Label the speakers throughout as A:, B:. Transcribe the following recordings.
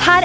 A: her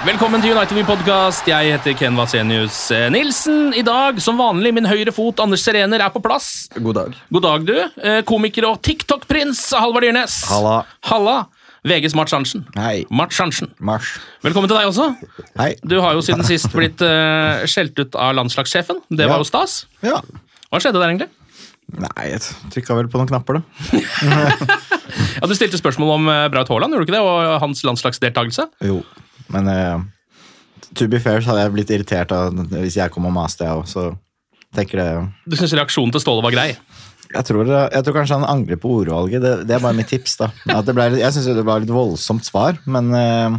B: Velkommen til United We Podcast. Jeg heter Ken Vasenius Nilsen. I dag, som vanlig, min høyre fot Anders Serener er på plass.
C: God dag.
B: God dag, du. Eh, Komiker og TikTok-prins Halvard Dyrnes.
C: Halla.
B: Halla. VGs Mart Arntzen.
C: Hei.
B: Mart Arntzen.
C: Mars.
B: Velkommen til deg også.
C: Hei.
B: Du har jo siden sist blitt eh, skjelt ut av landslagssjefen. Det
C: Ja.
B: var jo stas.
C: Ja.
B: Hva skjedde der, egentlig?
C: Nei, jeg trykka vel på noen knapper, da.
B: Ja, Du stilte spørsmål om eh, Braut Haaland gjorde du ikke det, og hans landslagsdeltakelse.
C: Jo. Men eh, to be fair så hadde jeg blitt irritert av, hvis jeg kom og maste, jeg òg. Så tenker det
B: Du syns reaksjonen til Ståle var grei?
C: jeg tror, jeg tror kanskje han angrer på ordvalget. Det, det er bare mitt tips. da. At det ble, litt- jeg syns det ble litt voldsomt svar, men eh,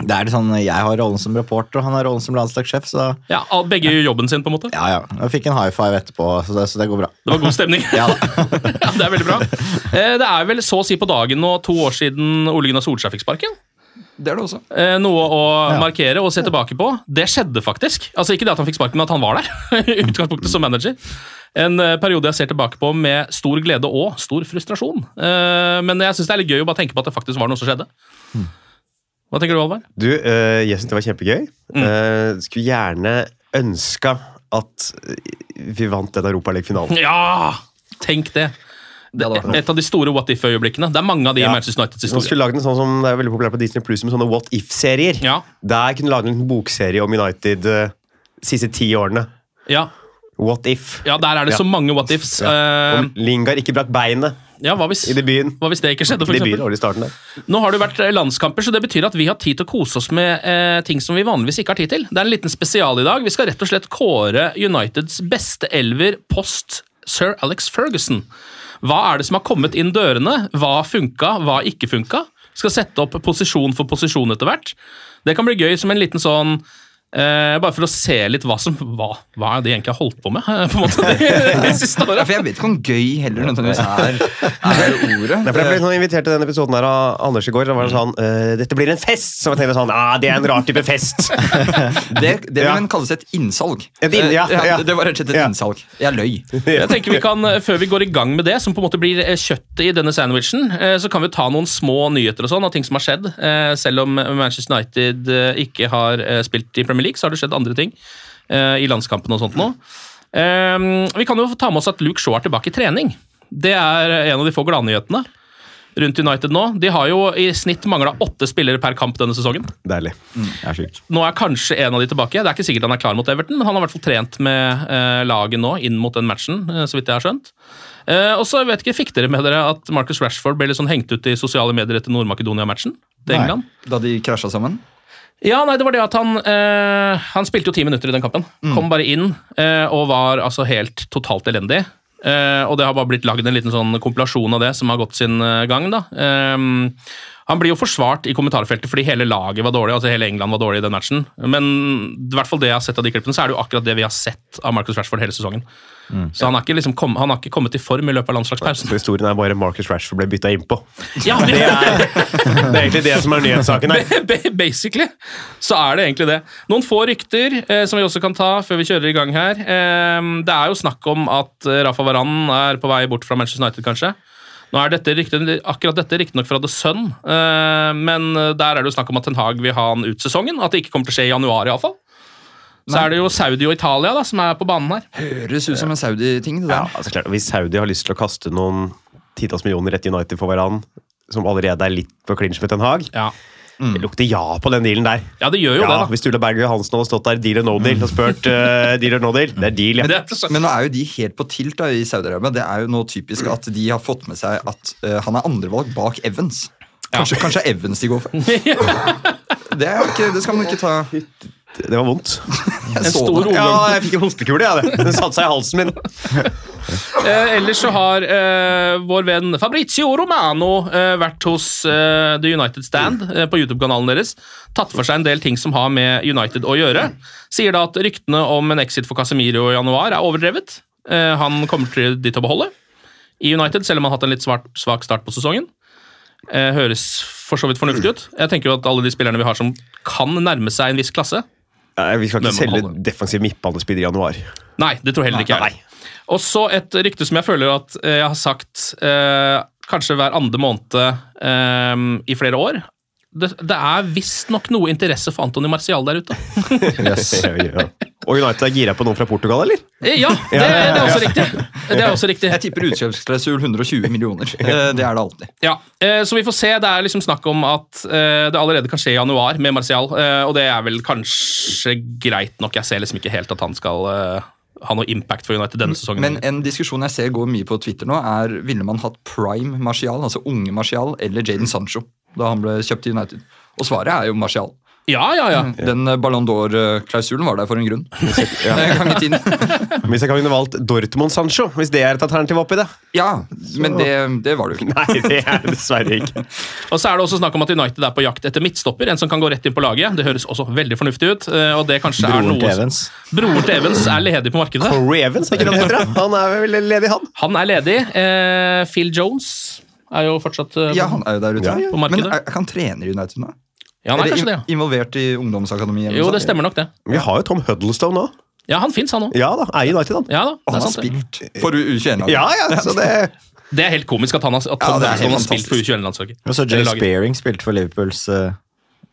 C: det er litt sånn, jeg har rollen som reporter, og han har rollen som landslagssjef, så
B: Ja, al- Begge gjør jobben sin, på en måte.
C: ja, ja. Jeg fikk en high five etterpå, så det, så det går bra.
B: Det var god stemning.
C: Ja da.
B: Ja, Det er veldig bra. Eh, Det er vel så å si på dagen nå to år siden Ole Gunnar Solskjær fikk sparken.
C: Det er det også.
B: Eh, Noe å
C: Ja.
B: markere og se tilbake på. Det skjedde faktisk. Altså Ikke det at han fikk sparken, men at han var der. I Utgangspunktet som manager. En eh, periode jeg ser tilbake på med stor glede og stor frustrasjon. Eh, Men jeg syns det er litt gøy å bare tenke på at det faktisk var noe som skjedde. Hva tenker du, Alvar?
D: Du, eh, jeg syns det var kjempegøy.
E: Mm.
D: Eh, skulle gjerne ønska at eh, vi vant den Europaliga-finalen.
B: Ja! Tenk det. det
C: vært noe.
B: et av de store what if-øyeblikkene. Det er mange av de i
D: Ja.
B: Manchester Uniteds
D: Man skulle
B: historie.
D: lagd en sånn som det er veldig populær på Disney Plus med sånne What If-serier.
B: Ja.
D: Der kunne du lage en liten bokserie om United eh, de siste ti årene.
B: Ja.
D: What If.
B: ja, der er det
D: Ja.
B: så mange what ifs.
D: Ja.
B: Eh,
D: Om Lingard ikke brakk beinet
B: Ja, hva hvis
D: i debuten.
B: Hva hvis det ikke skjedde, for
D: Debuten
B: eksempel?
D: var det i starten der.
B: Nå har det jo vært eh, landskamper, så det betyr at vi har tid til å kose oss med eh, ting som vi vanligvis ikke har tid til. Det er en liten spesial i dag. Vi skal rett og slett kåre Uniteds beste elver post sir Alex Ferguson. Hva er det som har kommet inn dørene? Hva funka, hva ikke funka? Skal sette opp posisjon for posisjon etter hvert. Det kan bli gøy som en liten sånn eh, bare for å se litt hva som Hva, hva er det de egentlig har holdt på med? eh, på en måte, de, de siste åra.
E: For jeg vet ikke om gøy heller nødvendigvis er, er ordet.
D: Nei, for jeg ble sånn invitert til denne episoden her av Anders i går. Da var det sånn eh, 'Dette blir en fest!' Så jeg tenkte sånn ah, 'Det er en rar type fest'.
E: Det, det vil
D: Ja.
E: en kalles et innsalg.
D: Et inn- ja,
E: Eh,
D: ja.
E: Det var rett og slett et
D: Ja.
E: innsalg. Jeg løy.
B: Jeg tenker vi kan, eh, Før vi går i gang med det, som på en måte blir eh, kjøttet i denne sandwichen, eh, så kan vi ta noen små nyheter og sånn av ting som har skjedd. Eh, Selv om Manchester United eh, ikke har eh, spilt i Premier League, så har det skjedd andre ting eh, i landskampene og sånt nå. Eh, Vi kan jo få ta med oss at Luke Shaw er tilbake i trening. Det er eh, en av de få gladnyhetene rundt United nå. De har jo i snitt mangla åtte spillere per kamp denne sesongen. Mm.
D: Deilig.
C: Det er sjukt.
B: Nå er kanskje en av de tilbake. Det er ikke sikkert han er klar mot Everton, men han har i hvert fall trent med eh, laget nå inn mot den matchen, eh, så vidt jeg har skjønt. Eh, og så vet ikke, fikk dere med dere at Marcus Rashford ble litt sånn hengt ut i sosiale medier etter Nord-Makedonia-matchen til
C: Nei.
B: England?
E: Da de krasja sammen.
B: Ja, nei, det var det at han eh, Han spilte jo ti minutter i den kampen.
D: Mm.
B: Kom bare inn eh, og var altså helt totalt elendig. Eh, og det har bare blitt lagd en liten sånn kompilasjon av det som har gått sin eh, gang, da. Eh, Han blir jo forsvart i kommentarfeltet fordi hele laget var dårlig, altså hele England var dårlig i den matchen. Men i hvert fall det jeg har sett av de klippene, så er det jo akkurat det vi har sett av Marcus Rashford hele sesongen. Så han har, ikke liksom kom, han har ikke kommet i form i løpet av landslagspausen.
D: Mm. Så historien er bare Marcus Rashford ble bytta innpå.
B: Ja, det er
D: Det er egentlig det som er nyhetssaken her.
B: Ba- ba- Basically så er det egentlig det. Noen få rykter eh, som vi også kan ta før vi kjører i gang her. Eh, det er jo snakk om at eh, Rafa Varan er på vei bort fra Manchester United, kanskje. Nå er dette ryktet, akkurat dette riktignok fra The Sun, eh, men eh, der er det jo snakk om at Ten Hag vil ha han ut sesongen. At det ikke kommer til å skje i januar, iallfall. Så er det jo Saudi og Italia da, som er på banen her.
E: Høres ut som en Saudi-ting, det
D: Ja,
E: der.
D: altså klart, Hvis Saudi har lyst til å kaste noen titalls millioner etter United for hverandre, som allerede er litt på clinch med Ten Hag
B: Ja,
D: Det lukter ja på den dealen der.
B: ja det gjør jo
D: ja,
B: det, da.
D: Hvis Sturle Berger Johansen hadde stått der deal or no deal og spurt eh, deal or no deal, det er deal,
B: Men
D: ja.
B: det er så-
E: Men nå er jo de helt på tilt da, i Saudi-Arabia. Det er jo nå typisk at de har fått med seg at eh, han er andrevalg bak Evans. Kanskje, kanskje Evans de går for. Det, er jo ikke, det skal man ikke ta
D: Det var vondt.
E: Jeg
B: En
E: så
B: stor
E: det.
B: ol-
D: Ja, jeg fikk en hostekule, jeg. det. Den satte seg i halsen min.
B: Eh, ellers så har eh, vår venn Fabrizio Romano eh, vært hos eh, The United Stand eh, på YouTube-kanalen deres. Tatt for seg en del ting som har med United å gjøre. Sier da at ryktene om en exit for Casemiro i januar er overdrevet. Eh, han kommer til de til å beholde i United, selv om han har hatt en litt svart, svak start på sesongen. Eh, høres for så vidt fornuftig ut. Jeg tenker jo at alle de spillerne vi har som kan nærme seg en viss klasse,
D: Nei, vi skal
B: Men
D: ikke selge
B: beholde.
D: defensiv midtbanespiller i januar.
B: Nei, det tror jeg heller ikke jeg. er. Og så et rykte som jeg føler at eh, jeg har sagt eh, kanskje hver andre måned eh, i flere år. Det, det er visstnok noe interesse for Antony Martial der ute.
D: Ja. Og United er gira på noen fra Portugal, eller?
B: Eh, Ja, det, det er også riktig. Det er også riktig.
E: Jeg tipper utkjøpsklausul 120 millioner. Eh, Det er det alltid.
B: Ja, eh, så vi får se. Det er liksom snakk om at eh, det allerede kan skje i januar med Martial, eh, og det er vel kanskje greit nok. Jeg ser liksom ikke helt at han skal eh, ha noe impact for United denne sesongen.
E: Men en diskusjon jeg ser går mye på Twitter nå, er ville man hatt prime Martial, altså unge Martial, eller Jaden Sancho da han ble kjøpt til United? Og svaret er jo Martial.
B: ja, ja, ja.
E: Den eh, Ballon d'Or-klausulen var der for en grunn. Eh, Gang i tiden.
D: Hvis jeg kan kunne valgt Dortmund Sancho, hvis det er et alternativ oppi det.
E: Ja, men det, det var det jo ikke.
D: Nei, det er det dessverre ikke.
B: Og så er det også snakk om at United er på jakt etter midtstopper. En som kan gå rett inn på laget. Det høres også veldig fornuftig ut. eh, Og det kanskje er
C: Broren
B: noe
C: til Evans.
B: Broren til Evans er ledig på markedet.
D: Corey Evans, er ikke det han heter? da? Han er vel ledig, han.
B: Han er ledig. Eh, Phil Jones er jo fortsatt eh,
E: Ja, han er jo der ute.
D: Ja,
B: på
E: Men
B: markedet.
E: er, er han trener i United nå?
B: Ja, han er kanskje det.
E: in- involvert i ungdomsakademiet?
B: ja. Jo, det stemmer nok, det.
D: Vi har jo Tom Huddlestone nå.
B: Ja, han fins, han òg.
D: Ja da, er United, han.
B: Ja da, det
E: Han
B: er
E: har
B: sant. det.
E: spilt for U21-laget.
D: Ja, ja, så det
B: Det er helt komisk at han har, at Tom
E: det er
B: Johnson har
E: helt
B: spilt for
E: fantastisk.
B: U21-landslaget.
C: Og så
B: Eller
C: Jay
B: laget.
C: Spearing spilte for Liverpools eh,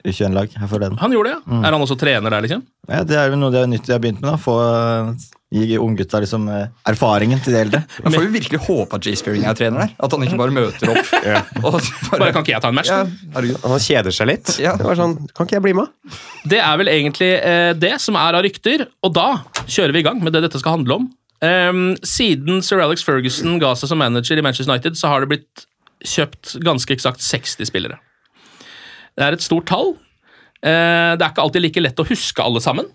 C: U21-lag her forleden.
B: Han gjorde det,
E: Mm.
B: ja. Er han også trener der, liksom?
C: Ja, det er jo noe det er nytt de har begynt med. da. Få eh, gi unggutta liksom, eh, erfaringen til de eldre.
E: Men får vi virkelig håpe at Jay Spearing er trener der? At han ikke bare møter opp og
B: Bare kan ikke jeg ta en match?
E: ja,
B: da?
E: herregud.
D: Han kjeder seg litt.
E: Ja.
D: Det var sånn, Kan ikke jeg bli med?
B: Det er vel egentlig eh, det som er av rykter, og da kjører vi i gang med det dette skal handle om. Ehm, siden sir Alex Ferguson ga seg som manager i Manchester United, så har det blitt kjøpt ganske eksakt 60 spillere. Det er et stort tall. Eh, det er ikke alltid like lett å huske alle sammen.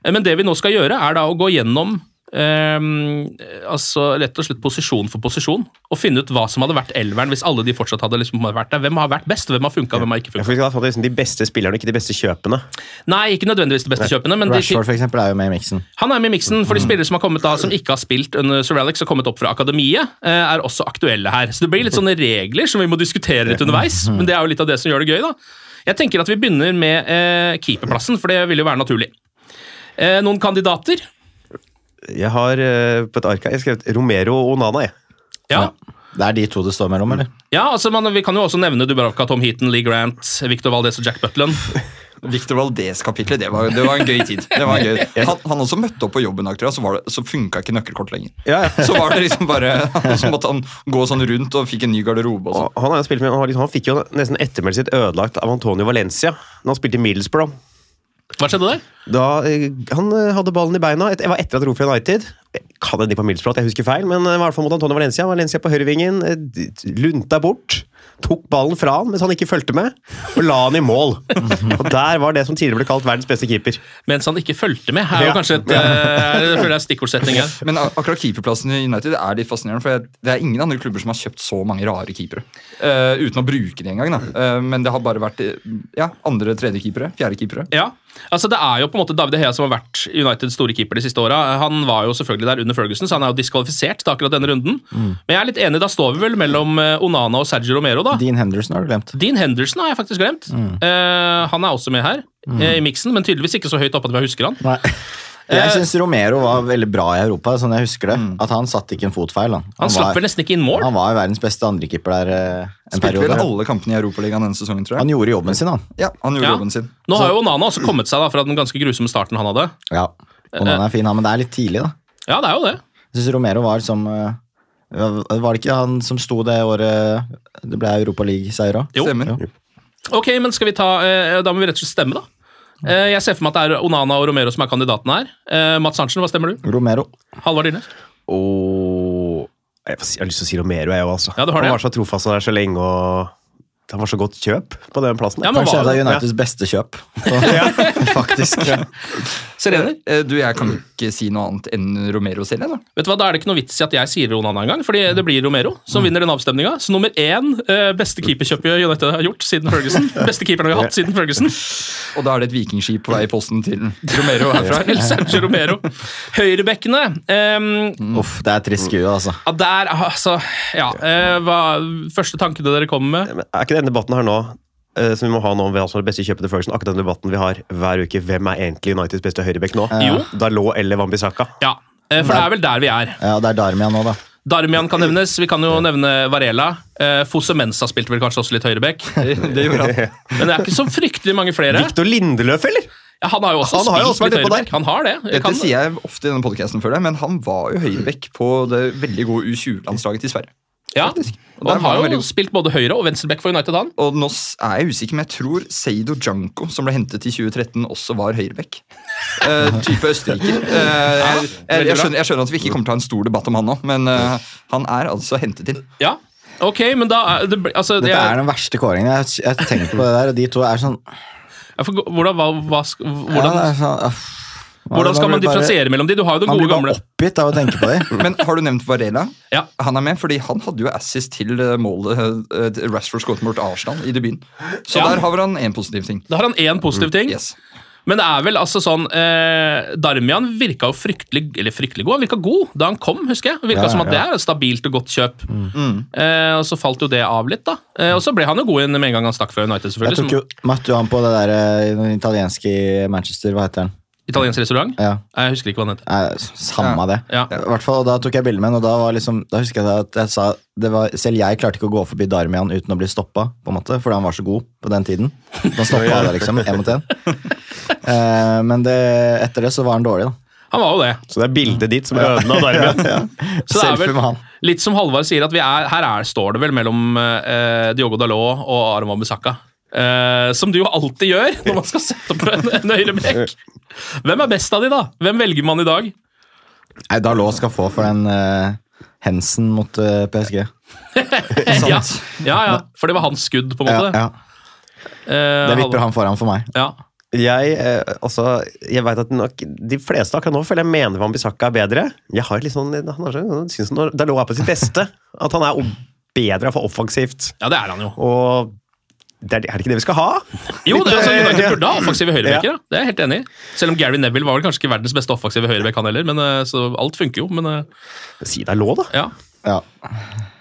B: Eh, Men det vi nå skal gjøre, er da å gå gjennom ehm, altså rett og slett posisjon for posisjon, og finne ut hva som hadde vært elveren hvis alle de fortsatt hadde liksom vært der. Hvem har vært best, hvem har funka, hvem har ikke
D: Ja,
B: funka?
D: for vi skal ha fått liksom de beste spillerne, ikke de beste kjøpene.
B: Nei, ikke nødvendigvis de beste kjøpene, men de,
C: Rashford for eksempel, er jo med i miksen.
B: Han er med i miksen, for de spillere som har kommet da, som ikke har spilt under Sir Alex, og kommet opp fra akademiet, eh, er også aktuelle her. Så det blir litt sånne regler som vi må diskutere litt underveis, men det er jo litt av det som gjør det gøy, da. Jeg tenker at vi begynner med eh, keeperplassen, for det vil jo være naturlig. Eh, noen kandidater?
D: Jeg har eh, på et ark her jeg har skrevet Romero og Onana. Jeg.
B: Ja.
C: Det er de to det står mellom, eller?
B: ja altså, man, vi kan jo også nevne Dubravka, Tom Heaton, Lee Grant, Victor Valdez og Jack Butland.
E: Victor Valdez-kapitlet, det, var- det var en gøy tid. Det var en gøy. Han, han også møtte opp på jobben, akkurat, så, var det- så funka ikke nøkkelkort lenger.
D: Ja, ja.
E: Så var det liksom bare, så måtte han gå sånn rundt og fikk en ny garderobe. og sånn.
D: Og Han, har jo spilt med, han, har liksom, han fikk jo nesten ettermeldet sitt ødelagt av Antonio Valencia når han spilte i Middlesbrough.
B: Hva skjedde der?
D: Da, eh, han eh, hadde ballen i beina. Et, det var etter at Rofi United Jeg Kan hende de på Middlesbrough, at jeg husker feil, men eh, i hvert fall mot Antonio Valencia. Valencia på høyrevingen eh, d- lunta bort. tok ballen fra han mens han ikke fulgte med, og la han i mål. Og Der var det som tidligere ble kalt verdens beste keeper.
B: Mens han ikke fulgte med, er jo
D: Ja.
B: kanskje et, eh, jeg føler det er stikkordsetning her.
E: Men ak- akkurat keeperplassen i United er litt fascinerende. For jeg- det er ingen andre klubber som har kjøpt så mange rare keepere. Eh, uten å bruke de engang, da. Eh, men det har bare vært eh, ja, andre, tredje keepere. Fjerde keepere.
B: Ja, altså Det er jo på en måte David De Hea som har vært Uniteds store keeper de siste åra. Han var jo selvfølgelig der under Ferguson, så han er jo diskvalifisert til akkurat denne runden. Men jeg er litt enig, da står vi vel mellom eh, Onana og Sergio Romero, da.
C: Dean Henderson har du glemt.
B: Dean Henderson har jeg faktisk glemt. Eh, han er også med her eh, i miksen, men tydeligvis ikke så høyt oppe at jeg husker han.
C: Nei. Jeg syns Romero var veldig bra i Europa, sånn jeg husker det. At han satte ikke en fot feil. Han,
B: Han slapp vel nesten ikke inn mål.
C: han var jo verdens beste andrekeeper der eh, en
E: Spilte vel
C: periode.
E: alle kampene i Europaligaen denne sesongen, tror jeg.
C: Han gjorde jobben sin, han.
E: ja, han gjorde
B: Ja.
E: jobben sin.
B: Nå har jo Onana også kommet seg da fra den ganske grusomme starten han hadde.
C: Ja. Og han er fin, han, men det er litt tidlig, da.
B: Ja, det er jo det.
C: Jeg syns Romero var som eh, Var det ikke han som sto det året det ble Europa League-seier òg?
B: Jo.
E: Stemmer.
B: Ok, men skal vi ta eh, Da må vi rett og slett stemme, da. Eh, jeg ser for meg at det er Onana og Romero som er kandidatene her. Eh, Mats Arntzen, hva stemmer du?
C: Romero.
B: Halvard Dyrnes?
D: Og jeg får si- jeg har lyst til å si Romero, jeg òg, altså.
B: Ja, du har det.
D: han var så trofast og der så lenge, og han var så godt kjøp på den plassen.
B: Ja, men
C: Kanskje
B: hva-
C: det er Uniteds beste kjøp. Så, Faktisk.
B: Serener?
E: Eh, Du, jeg kan ikke si noe annet enn Romero selv, jeg, da.
B: Vet du hva, Da er det ikke noe vits i at jeg sier Onana engang, fordi det blir Romero
D: Mm.
B: som vinner den avstemninga. Så nummer én, eh, beste keeperkjøpet United har gjort siden Ferguson. Beste keeperen vi har hatt siden Ferguson.
E: Og da er det et vikingskip på vei i posten til Romero herfra.
B: Eller Sergio Romero. Høyrebekkene ehm,
C: Uff, det er trist skue, altså.
B: ja, Der, altså Ja. eh, hva, første tankene dere kommer med?
D: Men er ikke den debatten her nå eh, som vi må ha nå om hvem som er det beste kjøpet til Ferguson, akkurat den debatten vi har hver uke. Hvem er egentlig Uniteds beste høyrebekk nå?
B: Jo.
D: Dalot eller Wambisaka?
B: Ja. eh, For det er vel der vi er.
C: Ja, det er Darmian nå, da.
B: Darmian kan nevnes. Vi kan jo nevne Varela. Eh, Fosse Mensa spilte vel kanskje også litt høyrebekk.
E: Det gjorde han.
B: Men det er ikke så fryktelig mange flere.
D: Victor Lindeløf, eller?
B: Ja, han har jo også
D: Han har jo også
B: spilt litt
D: vært litt på der.
B: høyrebekk. Han har det. Jeg
E: Dette
B: kan-
E: sier jeg ofte i denne podcasten føler jeg, men han var jo høyrebekk på det veldig gode U20-landslaget til Sverige.
B: Ja, og
E: Der
B: han
E: var han
B: har jo
E: veldig god.
B: spilt både høyre- og venstreback for United, han.
E: Og nå s- er jeg usikker, men jeg tror Seido Janko, som ble hentet i 2013, også var høyrebekk. Eh, type østerriker. Eh, jeg, jeg, jeg, skjønner, jeg skjønner at vi ikke kommer til å ha en stor debatt om han nå, men eh, han er altså hentet inn.
B: Ja, ok, men da er det, altså, det
C: Dette er
B: er,
C: den verste kåringen. Jeg, jeg tenkte på det der, og de to er sånn
B: jeg får gå- hvordan, hva, hva, sk-
C: ja,
B: hvordan,
C: det er sånn, uff. Man-
B: hvordan skal man
C: blir bare-
B: differensiere mellom de? Du har jo den
C: Man
B: gode
C: blir bare
B: gamle.
C: oppgitt av å tenke på dem.
E: Men har du nevnt Varela?
B: Ja.
E: Han er med, fordi han hadde jo assist til eh, målet eh, til Rashford skåret mot Arsenal i debuten. Så
B: Ja.
E: der har vi han en positiv ting.
B: Da har han én positiv ting,
E: Mm, Yes.
B: men det er vel altså sånn eh, Darmian virka jo fryktelig eller fryktelig god. Han virka god da han kom, husker jeg. Virka
C: Ja,
B: som at
C: ja. Mm.
B: det er et stabilt og godt kjøp.
E: Mm.
B: Eh, og så falt jo det av litt, da. Eh, og så ble han jo god igjen med en gang han stakk fra United,
C: Jeg
B: selvfølgelig.
C: tok jo,
B: Som
C: møtte jo han på det der eh, den italienske i Manchester, hva heter den?
B: italiensk restaurant.
C: Ja,
B: Nei, Jeg husker ikke hva han heter.
C: eh, Samme det.
B: Ja.
C: I hvert fall, og Da tok jeg bilde med den, og da, var liksom, da husker jeg at jeg sa det var, Selv jeg klarte ikke å gå forbi Darmian uten å bli stoppa, på en måte, fordi han var så god på den tiden. Han stoppa alle, liksom, én mot én. Eh, men det, etter det så var han dårlig, da.
B: Han var jo det.
D: Så det er bildet ditt som er ødela
B: Så
D: der.
B: det er
C: Selfie med
B: vel
C: han.
B: litt som Halvard sier, at vi er, her er, står det vel mellom eh, Diogo Dalot og Aron Wambisaka. Eh, som du jo alltid gjør når man skal sette opp en, en høyrebekk. Hvem er best av de, da? Hvem velger man i dag?
C: Nei, Dalot skal få for den eh, Hensen mot eh, PSG.
B: Ja, ja, ja, for det var hans skudd, på en
C: Ja,
B: måte.
C: ja.
B: Eh,
C: Det vipper
B: Halvard-
C: han foran for meg.
B: Ja.
D: Jeg, eh, altså, jeg vet at nok, De fleste akkurat nå føler jeg mener Wambisaka er bedre. Jeg har litt sånn, han har sånn, han synes når Dalot er på sitt beste, at han er o- bedre for offensivt.
B: ja, det er han jo.
D: Og det er, er det ikke det vi skal ha?
B: Jo, det er altså, United
D: Ja.
B: burde ha offensive høyrebekker, da. det er jeg helt enig i. Selv om Gary Neville var vel kanskje ikke verdens beste offensive høyrebekk, han heller. Men, eh, så alt funker jo, men eh,
D: Si Dalot, da.
B: ja.
C: Ja.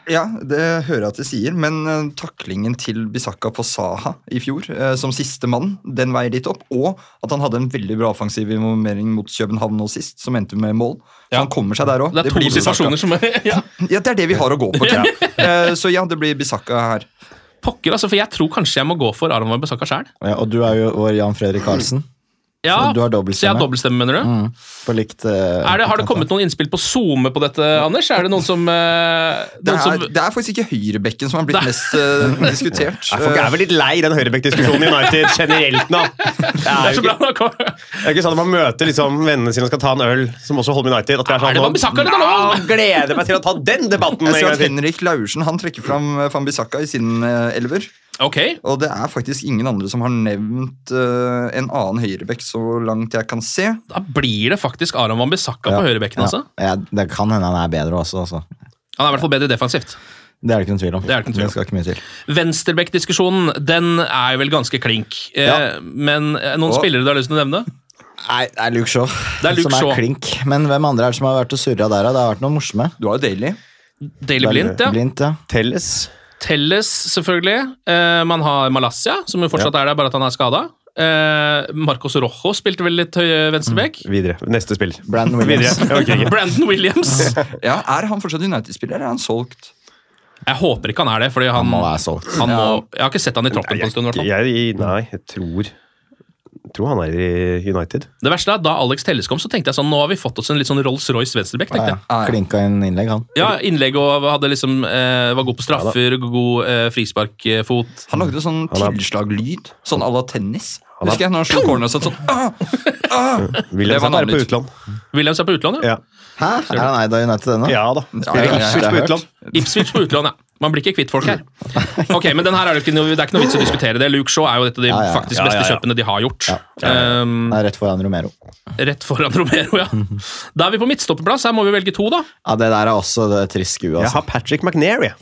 E: Ja, det hører jeg at du sier, men eh, taklingen til Bisakka på Saha i fjor, eh, som siste mann, den veier litt opp. Og at han hadde en veldig bra offensiv involvering mot København nå sist, som endte med mål. Så
B: Ja.
E: han kommer seg der òg.
B: Det er to situasjoner som er ja.
E: Ja, det er det vi har å gå på. tror jeg. Eh, Så ja, det blir Bisakka her.
B: Pokker, altså, for jeg tror kanskje jeg må gå for Aron Wambisaka sjøl.
C: Ja, Og du er jo vår Jan Fredrik Karlsen.
B: Ja,
C: Så du har
B: Så
C: dobbeltstemme.
B: jeg har dobbeltstemme, mener du?
C: Mm, på likt eh,
B: Er det, har det kommet noen innspill på SoMe på dette, Anders? Er det noen som, eh,
E: Det
B: noen
E: er,
B: som
E: det er faktisk ikke høyrebekken som har blitt mest eh, diskutert.
D: Nei, Folk er vel litt lei den høyrebekk-diskusjonen i United generelt nå. Det
B: Det
D: er
B: er
D: jo
B: så bra
D: ikke, det er ikke sånn at man møter liksom vennene sine og skal ta en øl, som også holder med United. At vi er sånn,
B: Er det
D: nå-
B: Wan-Bissaka eller
D: Ja,
B: Dalot?
D: gleder meg til å ta den debatten.
E: Jeg
D: en
E: ser
D: gang
E: at
D: til.
E: Henrik Laursen han trekker fram eh, Fambisaka i sin eh, elver.
B: Ok.
E: Og det er faktisk ingen andre som har nevnt eh, en annen høyrebekk, så langt jeg kan se.
B: Da blir det faktisk Aram Wambisaka
C: Ja,
B: på høyrebekken. Altså.
C: Ja, det kan hende han er bedre også. Altså.
B: Han er i hvert fall bedre defensivt.
C: Det er det ikke noen tvil om.
B: Det er det ikke noen tvil om.
C: skal ikke mye til.
B: Venstrebekk-diskusjonen den er vel ganske klink. Eh,
C: Ja.
B: Men eh, noen
E: Og-
B: spillere du har lyst til å nevne?
C: Nei, det er Luke Shaw.
B: Det er Luke
C: som er
B: Shaw.
C: klink. Men hvem andre er det som har vært og surra der? da? Det har vært noen morsomme.
E: Du har jo Daly.
B: Daily Blind, ja.
C: Blindt, ja.
D: Telles.
B: Telles, selvfølgelig. Eh, Man har Malaysia, som jo fortsatt er der, bare at han er skada. Marcos Rojo spilte vel litt høy venstrebekk.
D: Videre. Neste spill.
C: Brandon
D: Videre.
C: Williams.
D: Jeg orker ikke.
B: Brandon Williams!
E: Ja, er han fortsatt United-spiller, eller er han solgt?
B: Jeg håper ikke han er det, fordi han,
C: Han må være solgt.
B: han må, jeg har ikke sett han i troppen på en stund. i hvert fall.
D: Jeg, jeg, nei, jeg tror jeg tror han er i United.
B: Det verste er at Da Alex Telles kom, så tenkte jeg sånn, nå har vi fått oss en litt sånn Rolls-Royce venstrebekk.
C: Ja,
B: tenkte
C: ja.
B: jeg.
E: Ah, ja.
C: Klinka inn innlegg, han.
B: Ja, Innlegg og hadde liksom, eh, var god på straffer, god eh, frisparkfot.
E: Han lagde sånn
D: er-
E: tilslaglyd, sånn à la tennis.
D: er-
E: Husker jeg når han slo corner og sånn sånn ah!
D: Williams
E: var
D: er bare på
E: navnet.
D: utland.
B: Williams er på utlån, ja.
D: Ja,
C: Hæ? Er han eid av United ennå?
D: ja da.
E: Ja, ja, ja, ja.
D: Ipswich på utland.
B: Ipswich på utlån, ja. Man blir ikke kvitt folk her. Ok, Men den her er det, ikke noe, det er ikke noe vits å diskutere det. Luke Shaw er jo et av de
C: Ja, ja, ja.
B: faktisk
D: Ja, ja,
B: beste
D: ja.
B: kjøpene de har gjort.
C: Han er rett foran Romero.
B: Eh, rett foran Romero, ja. Da er vi på midtstopperplass. Her må vi velge to, da.
C: Ja, Det der er også det trist skue.
D: Jeg
C: Altså.
D: har Patrick McNair, jeg.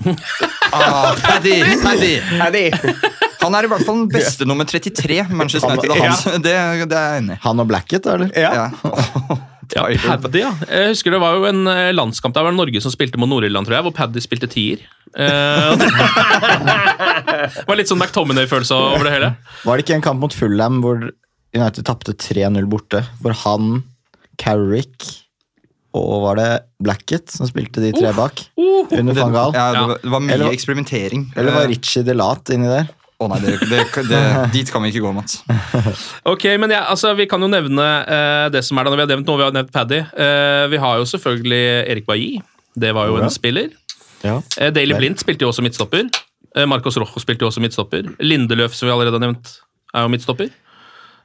E: ah, Paddy! Paddy!
D: Paddy.
E: Han er i hvert fall den beste nummer 33 Manchester United har hatt. Det, det er jeg enig i.
C: Han og Blackett, eller?
D: Ja.
E: Ja.
B: Ja, Paddy, ja. Jeg husker Det var jo en eh, landskamp der det var Norge som spilte mot Nord-Irland, tror jeg, hvor Paddy spilte tier. Eh, og det var litt sånn McTominay-følelse over det hele.
C: Var det ikke en kamp mot Fulham hvor United tapte 3-0 borte? Hvor han, Carrick og var det Blackett som spilte de tre bak? Under van Gaal?
E: Ja, det, var, det var mye
C: Eller-
E: eksperimentering.
C: Eller var
E: Eh,
C: Richie Delat inni der?
E: Å nei, det, det, det, Dit kan vi ikke gå, Mats.
B: Ok, men ja, altså, Vi kan jo nevne eh, det som er da, når vi har nevnt noe. Vi har nevnt Paddy. Eh, vi har jo selvfølgelig Erik Bailly. Det var jo en spiller.
C: Ja.
B: Eh, Daily
C: Vel.
B: Blind spilte jo også midtstopper. Eh, Marcos Rojo spilte jo også midtstopper. Lindeløf, som vi allerede har nevnt, er jo midtstopper.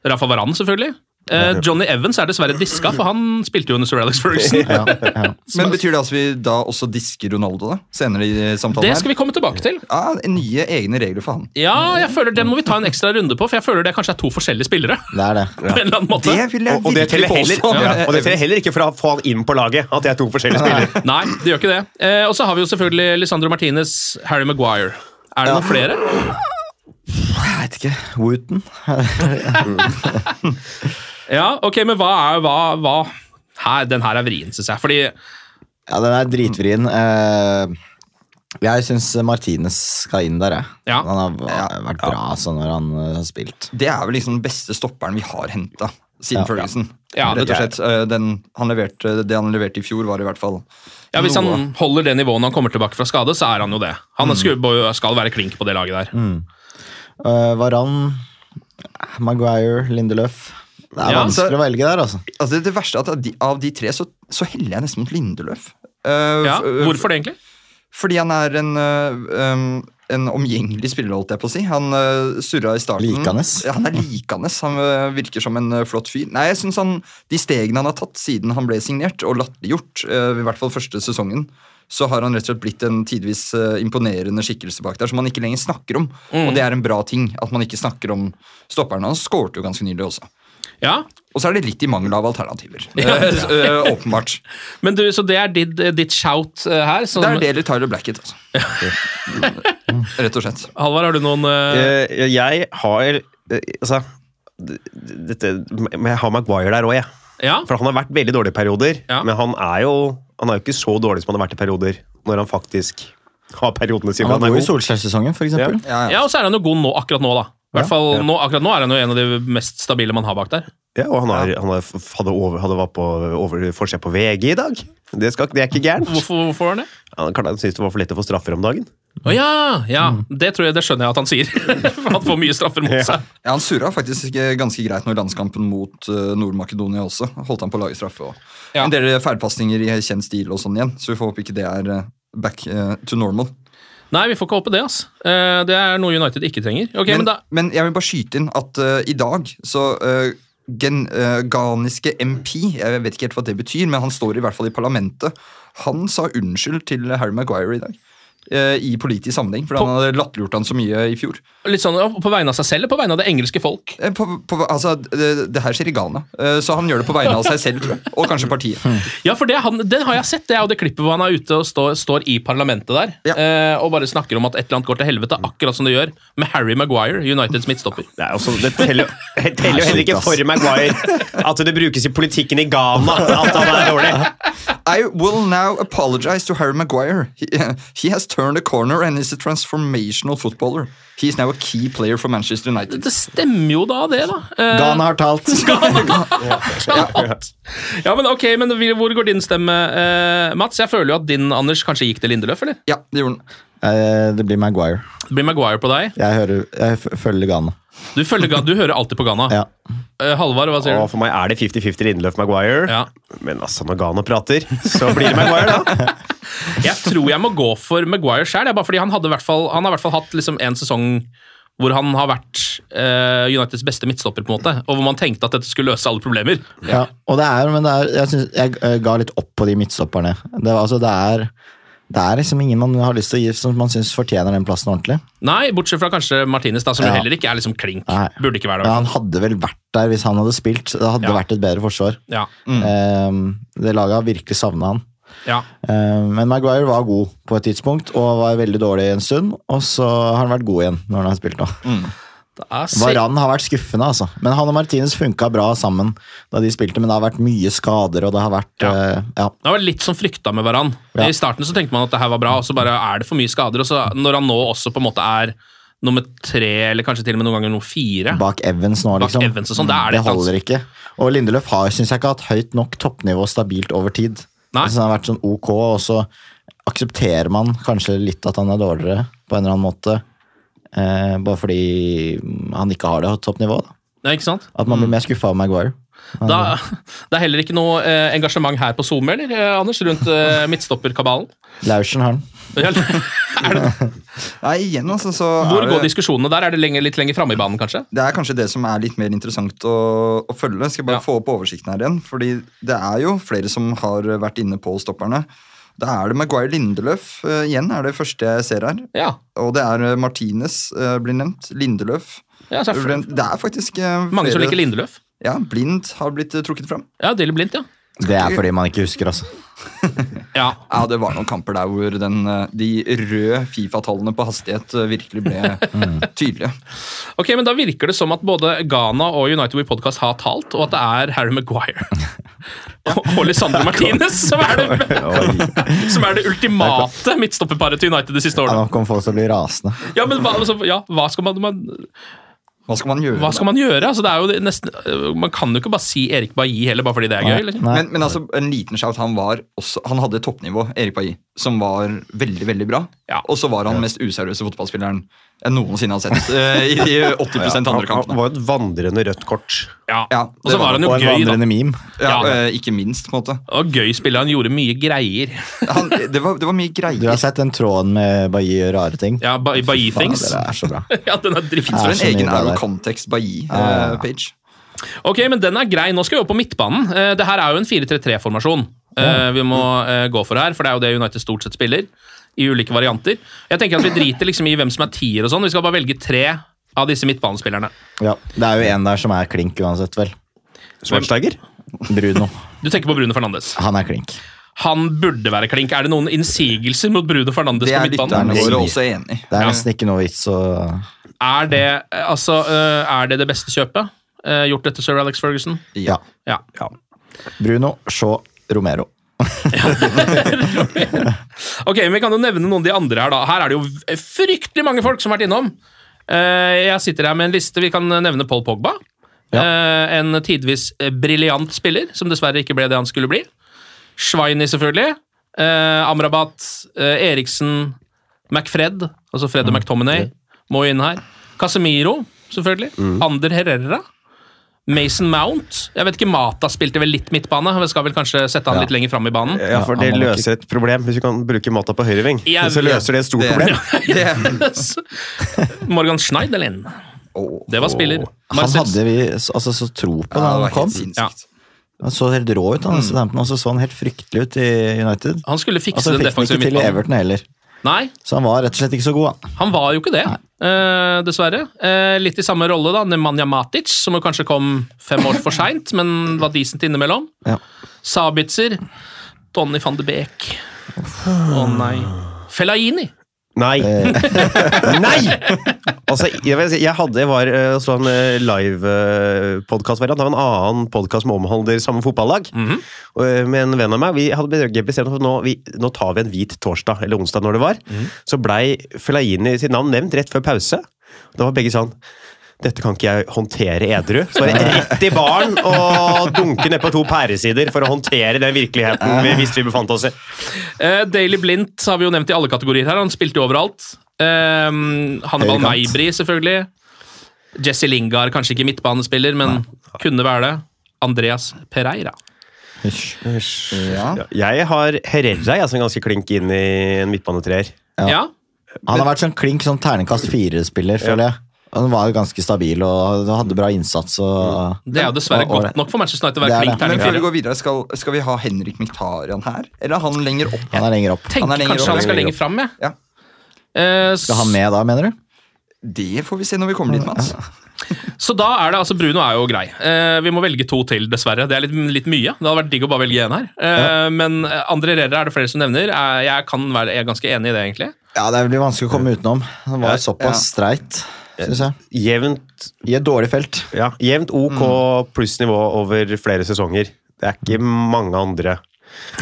B: Rafa Varan, selvfølgelig. Eh, Johnny Evans er dessverre diska, for han spilte jo under Sir Alex Ferguson.
C: Ja, ja.
E: Men Betyr det at vi da også disker Ronaldo da? senere i samtalen?
B: Det skal vi komme tilbake til.
E: Ja, Nye egne regler for han.
B: Ja, jeg føler Den må vi ta en ekstra runde på, for jeg føler det kanskje er to forskjellige spillere.
C: Det er det.
B: På en eller annen måte.
E: Det vil jeg
D: Og, og det
E: virkelig
D: teller heller,
E: påstå.
D: ja. og det teller heller ikke for å få han inn på laget. At jeg er to forskjellige spillere.
B: Nei, det gjør ikke det. Eh, og så har vi jo selvfølgelig Lisandro Martinez, Harry Maguire. Er det noen flere?
C: Jeg vet ikke. Wooten?
B: Ja, ok, men hva er hva, hva? Her, Den her er vrien, syns jeg. Fordi
C: Ja, den er dritvrien. Eh, Jeg syns Martinez skal inn der, jeg.
B: Ja.
C: Han har va- vært bra altså, når han eh, har spilt.
E: Det er vel liksom den beste stopperen vi har henta siden
C: Ja.
E: Ferguson.
B: Ja, det
E: Rett og
B: tror jeg.
E: slett. eh, Den, han leverte, det han leverte i fjor, var i hvert fall
B: ja, Hvis
E: noe. Mm.
B: han holder det nivået når han kommer tilbake fra skade, så er han jo det. Han skal, skal være klink på det laget der.
C: Eh, Varan, Maguire, Lindeløf. Det er
B: Ja,
E: så-
C: vanskelig å velge der, altså.
E: Altså, det, det verste er at av de, av de tre så, så heller jeg nesten mot Lindeløf. Eh,
B: Ja,
E: f- eh,
B: Hvorfor det, egentlig?
E: Fordi han er en, øh, øhm, en omgjengelig spiller, holdt jeg på å si. Han øh, surra i starten.
C: Likanes.
E: Ja, han er likanes. Han øh, virker som en øh, flott fyr. Nei, jeg synes han, De stegene han har tatt siden han ble signert, og latterliggjort, øh, i hvert fall første sesongen, så har han rett og slett blitt en tidvis øh, imponerende skikkelse bak der, som man ikke lenger snakker om. Og det er en bra ting, at man ikke snakker om stopperen. Han skårte jo ganske nylig også.
B: Ja,
E: Og så er det litt i mangel av alternativer.
B: Ja.
E: Øh, øh, åpenbart.
B: men du, Så det er ditt, ditt shout eh, her? Som,
E: Det er del i Tyler Blackett, altså. Rett og slett.
B: Halvard, har du noen eh,
D: Eh, Jeg har eh, Altså d- d- dette, men Jeg har Maguire der òg, jeg.
E: Eh,
B: Ja?
D: For han har vært veldig dårlig i perioder.
B: Ja.
D: Men han er jo han er jo ikke så dårlig som han har vært i perioder, når han faktisk har periodene sine.
C: Han var
D: er
C: god i
D: god.
C: Solskjær-sesongen, for eksempel.
E: Ja, ja.
B: Ja, og så er han jo god nå, akkurat nå, da. I hvert fall nå, akkurat nå er han jo en av de mest stabile man har bak der.
D: Ja, og han, har, han har, hadde, over, hadde var på over, forsida på VG i dag. Det, skal, det er ikke gærent.
B: Hvorfor, hvorfor var han det?
D: Han, kan- han syntes det var for lett å få straffer om dagen.
B: Å ja! ja. Det tror jeg det skjønner jeg at han sier. For han får mye straffer mot seg.
E: Mm. Ja, Han surra faktisk ikke ganske greit når landskampen mot eh, Nord-Makedonia også. Holdt han på å lage straffe og
B: Ja.
E: en del eh, feilpasninger i kjent stil og sånn igjen. Så vi får håpe ikke det er eh, back eh, to normal.
B: Nei, vi får ikke håpe det. ass. Eh, Det er noe United ikke trenger. Ok, men,
E: men,
B: da...
E: men jeg vil bare skyte inn at eh, i dag så eh, gen, eh, Ghaniske MP, jeg vet ikke helt hva det betyr, men han står i hvert fall i parlamentet. Han sa unnskyld til Harry Maguire i dag. eh, I politisk sammenheng, for han hadde latterliggjort han så mye i fjor.
B: Litt sånn å, På vegne av seg selv eller på vegne av det engelske folk?
E: Eh, På, på, altså, det, det her skjer i Ghana, eh, så han gjør det på vegne av seg selv, tror jeg. Og kanskje partiet.
B: Ja, for det, er han, Den har jeg sett. Det er jo det klippet hvor han er ute og står, står i parlamentet der
E: Ja.
B: eh, og bare snakker om at et eller annet går til helvete, akkurat som det gjør med Harry Maguire, Uniteds midtstopper.
D: Det, er også, det teller jo- det teller jo heller ikke for Maguire at det brukes i politikken i Ghana at han er dårlig.
E: I will now apologize to Harry Maguire. He, he has turned a corner and is a transformational footballer. He is now a key player for Manchester United.
B: Det stemmer jo da, det, da. Eh,
C: Ghana har talt.
B: ja, men ok, men vi- Hvor går din stemme, eh, Mats? Jeg føler jo at din Anders kanskje gikk til Lindeløf, eller?
E: Ja, det gjorde han.
C: Eh, Det blir Maguire.
B: Det blir Maguire på deg.
C: Jeg, hører, jeg f- følger Ghana.
B: Du, følger, Ga- du hører alltid på Ghana.
C: Ja.
B: Eh, Halvard, hva sier
D: Og
B: du?
D: for meg er det 50-50 Lindløf-Maguire.
B: Ja.
D: Men altså, når Ghana prater, så blir det Maguire, da.
B: Jeg tror jeg må gå for Maguire sjøl, bare fordi han, hadde i hvert fall, han har i hvert fall hatt liksom en sesong hvor han har vært eh, Uniteds beste midtstopper, på en måte, og hvor man tenkte at dette skulle løse alle problemer.
C: Ja, og det er, men det er, jeg, synes, jeg eh, ga litt opp på de midtstopperne. Det, var- altså, det, er, det er liksom ingen man har lyst til å gi som man syns fortjener den plassen ordentlig.
B: Nei, bortsett fra kanskje Martinez, da, som jo
C: Ja.
B: heller ikke er liksom klink.
C: Nei.
B: Burde ikke være
C: Men
B: det.
C: han hadde vel vært der hvis han hadde spilt. Det
B: Ja.
C: hadde vært et bedre forsvar.
B: Ja.
C: Eh, det laget har virkelig savna han.
B: Ja.
C: Eh, men Maguire var god på et tidspunkt, og var veldig dårlig en stund. Og så har han vært god igjen når han har spilt nå.
B: Det er se-
C: Varan har vært skuffende, altså. Men han og Martinez funka bra sammen da de spilte, men det har vært mye skader, og det har vært
B: Ja.
C: eh, ja.
B: Det var litt som frykta med Varan.
C: Ja.
B: I starten så tenkte man at det her var bra, og så bare er det for mye skader. Og så når han nå også på en måte er nummer tre, eller kanskje til og med noen ganger nummer fire
C: bak Evans nå,
B: Bak
C: liksom.
B: Evans og sånn, da er det
C: det
B: et
C: holder ikke. Og Lindeløf har, syns jeg, ikke hatt høyt nok toppnivå stabilt over tid.
B: Nei.
C: Så han har vært sånn ok, og så aksepterer man kanskje litt at han er dårligere på en eller annen måte. Eh, bare fordi han ikke har det toppnivået.
B: Ja,
C: da.
B: ikke sant?
C: At man blir mer skuffa av Maguire.
B: Da, det er heller ikke noe eh, engasjement her på SoMe, eller, eh, Anders, rundt eh, midtstopperkabalen?
C: Laursen har han.
B: Er det-
E: Nei, igjen, altså, så
B: Hvor
E: er
B: går
E: det,
B: diskusjonene der? Er det lenger, litt lenger framme i banen, kanskje?
E: det er kanskje det som er litt mer interessant å, å følge. Skal jeg bare
B: Ja.
E: få opp oversikten her igjen. Fordi det er jo flere som har vært inne på stopperne. Da er det Maguire Lindeløf eh, igjen, er det første jeg ser her.
B: Ja.
E: Og det er eh, Martinez eh, blir nevnt. Lindeløf.
B: ja så er det
E: Blir nevnt. Det er faktisk eh, flere
B: mange som liker Lindeløf.
E: Ja, Blind har blitt eh, trukket fram.
B: Ja, Daily Blindt, ja.
C: Det er fordi man ikke husker, altså.
B: ja.
E: Ja, Det var noen kamper der hvor den, eh, de røde Fifa-tallene på hastighet eh, virkelig ble tydelige.
B: Ok, men Da virker det som at både Ghana og United We Podcast har talt, og at det er Harry Maguire og og Lisandro Martinez som er det,
C: Oi.
B: som er det ultimate midtstopperparet til United de siste
C: Ja,
B: årene.
C: nå kommer folk til å bli rasende.
B: Ja, men hva, altså, ja, hva skal man, man
E: Hva skal man gjøre?
B: Hva skal man gjøre? Altså, det er jo det nesten, øh, man kan jo ikke bare si Erik Bailly heller, bare fordi det er gøy. Liksom.
C: Nei.
E: Men, men altså, en liten shout, han, var også, han hadde et toppnivå, Erik Bailly, som var veldig veldig bra.
B: Ja.
E: Og så var han mest useriøse fotballspilleren jeg noensinne har sett. eh, I de 80 andre
D: Han
E: kampene.
D: var et vandrende rødt kort.
B: Ja.
E: Ja,
B: og så
E: det var
B: var han jo
C: Og en
B: gøy, da.
C: vandrende meme.
E: Ja,
B: Ja.
E: eh, Ikke minst, på en måte.
B: Og gøy spiller, han gjorde mye greier.
E: Han, det, var, det var mye
C: Du har
E: greier.
C: sett den tråden med Bailly gjør rare ting?
B: Ja, ba Bailly
C: Faen,
B: things.
C: dere er så bra.
B: Ja, den er dritt.
E: Så
C: Ja.
E: en
C: så mye
E: egen
C: bra der.
E: Euro Context
C: ja, ja.
E: Bailly-page.
B: Ok, men den er grei. Nå skal vi opp på midtbanen. Eh, Det her er jo en 4-3-3-formasjon eh, vi må eh, gå for her, for det er jo det United stort sett spiller. I ulike varianter. Jeg tenker at Vi driter liksom i hvem som er tier og sånn. Vi skal bare velge tre av disse midtbanespillerne.
C: Ja, det er jo en der som er klink uansett, vel.
D: Schwarzenegger?
C: Bruno.
B: Du tenker på Bruno Fernandes.
C: Han er klink.
B: Han burde være klink. Er det noen innsigelser mot Bruno Fernandes
E: Det
B: på
E: er lytterne
B: midtbanen?
C: Det er
E: våre
C: mye.
E: også enig i.
C: Det er
B: Ja.
C: nesten ikke noe vits å
B: Er det, eh, altså, eh, er det det beste kjøpet? Eh, Gjort etter sir Alex Ferguson?
C: Ja.
B: Ja.
C: Bruno, Shaw, Romero.
B: Ok, men Vi kan jo nevne noen av de andre her. da. Her er det jo v- fryktelig mange folk som har vært innom. Eh, Jeg sitter her med en liste. Vi kan nevne Paul Pogba. Eh, en tidvis eh, briljant spiller, som dessverre ikke ble det han skulle bli. Schweini, selvfølgelig. Eh, Amrabat, eh, Eriksen, McFred, altså Fred og McTominay, må jo inn her. Casemiro, selvfølgelig. Ander Herrera. Mason Mount. Jeg vet ikke, Mata spilte vel litt midtbane. Vi skal vel kanskje sette han
C: Ja.
B: litt lenger fram i banen.
D: Ja, for det løser et problem hvis du kan bruke mata på høyreving.
B: Jeg
D: Så
B: vet.
D: løser det et stort
E: Det-
D: problem.
E: det-
B: Morgan Schneiderlin.
E: Åh.
B: Det var spiller.
C: Han
B: Marcel-
C: hadde vi s- altså, så tro på
E: Ja,
C: da
E: det var
C: han kom.
E: helt
B: Ja.
E: sinnssykt.
C: Han så helt rå ut, han, Southampton, og så så han helt fryktelig ut i United.
B: Han skulle Mm. fikse
C: Altså
B: den
C: fikk han
B: defensive
C: ikke til i
B: midtbanen.
C: Everton heller.
B: Nei,
C: Så han var rett og slett ikke så god, han.
B: han var jo ikke det, eh, dessverre. Eh, litt i samme rolle, da. Nemanja Matic, som jo kanskje kom fem år for seint, men var decent innimellom.
C: Ja.
B: Sabitzer. Donny van de Beek. Å nei. Fellaini.
D: Nei! Nei! Eh. Altså, jeg, vet, jeg hadde jeg var eh, og så en live-podkast-variant av en annen podkast som omhandler samme fotballag. Og, eh, Med en venn av meg. Vi hadde be- bestemt oss for at nå, vi, nå tar vi en hvit torsdag, eller onsdag når det var. Så blei Fellaini sitt navn nevnt rett før pause. Da var begge sånn dette kan ikke jeg håndtere edru. Så var det rett i baren og dunke nedpå to pæresider for å håndtere den virkeligheten vi visste vi befant oss i.
B: Eh, Daily Blint har vi jo nevnt i alle kategorier her. Han spilte jo overalt. Eh, Hannibal
C: Høyrekant.
B: Meibri, selvfølgelig. Jesse Lingard, kanskje ikke midtbanespiller, men kunne være det. Andreas Pereira.
C: Hysj.
E: Ja.
D: Ja, Jeg har Herrera jeg, som er ganske klink inn i en midtbanetreer.
B: Ja.
C: Han har vært sånn klink sånn terningkast fire-spiller, føler jeg. Han var jo ganske stabil og hadde bra innsats. Og,
B: Mm. Det er jo dessverre
C: og- og-
B: godt nok for Manchester United å være
C: Det er
B: klink
C: det.
E: Men
B: terning
E: før vi
B: fire.
E: går videre, skal, skal vi ha Henrik Miktarian her? Eller er han lenger opp?
C: Han er lenger opp.
E: Han er
B: Tenker
E: lenger
B: kanskje
E: opp,
B: han skal
E: lenger
B: lenger fram, jeg.
E: Ja.
B: Eh,
C: Skal han med da, mener du?
E: Det får vi se når vi kommer dit, Mats.
B: Så da er det altså Bruno er jo grei. Eh, vi må velge to til, dessverre. Det er litt, litt mye. Det hadde vært digg å bare velge én her. Eh, Men eh, andre Herrera er det flere som nevner. Eh, jeg kan være jeg er ganske enig i det, egentlig.
C: Ja, Det blir vanskelig å komme utenom. Han var jo
E: Ja.
C: såpass streit, syns jeg.
D: Jevnt,
C: I et dårlig felt.
D: ja, jevnt OK
B: Mm.
D: plussnivå over flere sesonger. Det er ikke mange andre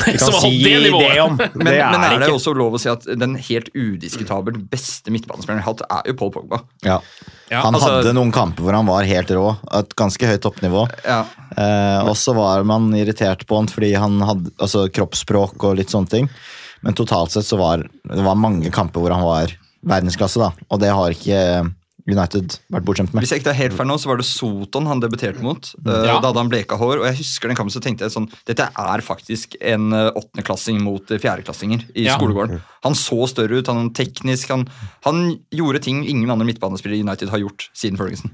D: vi kan
B: Som har holdt
D: si
B: det
D: det,
B: nivået.
D: om.
E: Men,
D: det
E: men er det
D: ikke.
E: også lov å si at den helt udiskutabelt beste midtbanespilleren vi har hatt, er jo Paul Pogba.
C: Ja.
B: Ja,
C: han
E: altså-
C: hadde noen kamper hvor han var helt rå. Et ganske høyt toppnivå.
E: Ja.
C: Eh, og så var man irritert på han fordi han hadde altså, kroppsspråk og litt sånne ting. Men totalt sett så var det var mange kamper hvor han var verdensklasse, da. Og det har ikke United vært bortskjemt med.
E: Hvis jeg ikke er helt feil nå, så var det Soton han debuterte mot. eh,
B: Ja.
E: Da hadde han bleka hår. Og jeg husker den kampen så tenkte jeg sånn Dette er faktisk en eh, åttendeklassing mot eh, fjerdeklassinger i
B: Ja.
E: skolegården. Han så større ut, han var teknisk han, han gjorde ting ingen andre midtbanespillere i United har gjort siden Ferguson.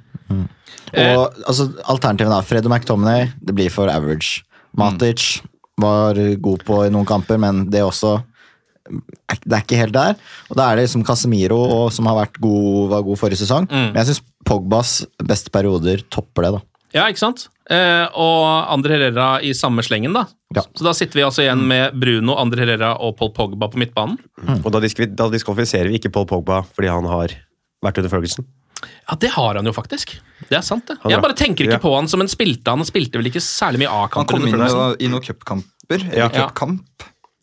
B: Eh,
C: Og altså, alternativet da, Fred og McTominay, det blir for average. Matic var god på i noen kamper, men det også er- Det er ikke helt der. Og da er det liksom Casemiro og, som har vært god, var god forrige sesong. Men jeg syns Pogbas beste perioder topper det, da.
B: ja, ikke sant? Eh, og Andre Herrera i samme slengen, da.
C: Ja.
B: Så da sitter vi altså igjen med Bruno, Andre Herrera og Paul Pogba på midtbanen.
D: Og da, diskvi- da diskvalifiserer vi ikke Paul Pogba fordi han har vært under Ferguson.
B: Ja, det har han jo faktisk. Det er sant, det.
D: Han er
B: Jeg bare
D: bra.
B: tenker ikke
D: Ja.
B: på han som en spilte. Han spilte vel ikke særlig mye
E: Han
B: A-kamper
E: kom
B: under
E: inn
B: Ferguson.
E: i noen cupkamper.
D: Ja.
E: Eller cupkamp.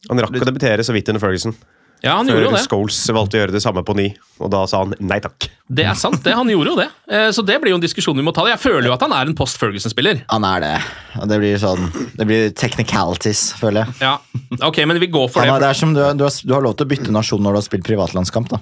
D: Han rakk å debutere så vidt under Ferguson.
B: Ja, han gjorde
D: Før
B: jo det.
D: Scholes valgte å gjøre det samme på ny, og da sa han nei takk.
B: Det er sant, det. Han gjorde jo det. Eh, Så det blir jo en diskusjon vi må ta. Jeg føler jo at han er en post Ferguson-spiller.
C: Han er det. Og det blir sånn Det blir technicalities, føler jeg.
B: Ja, ok, men vi går for
C: Han er,
B: det.
C: det er som du, du, har, du har lov til å bytte nasjon når du har spilt privatlandskamp, da.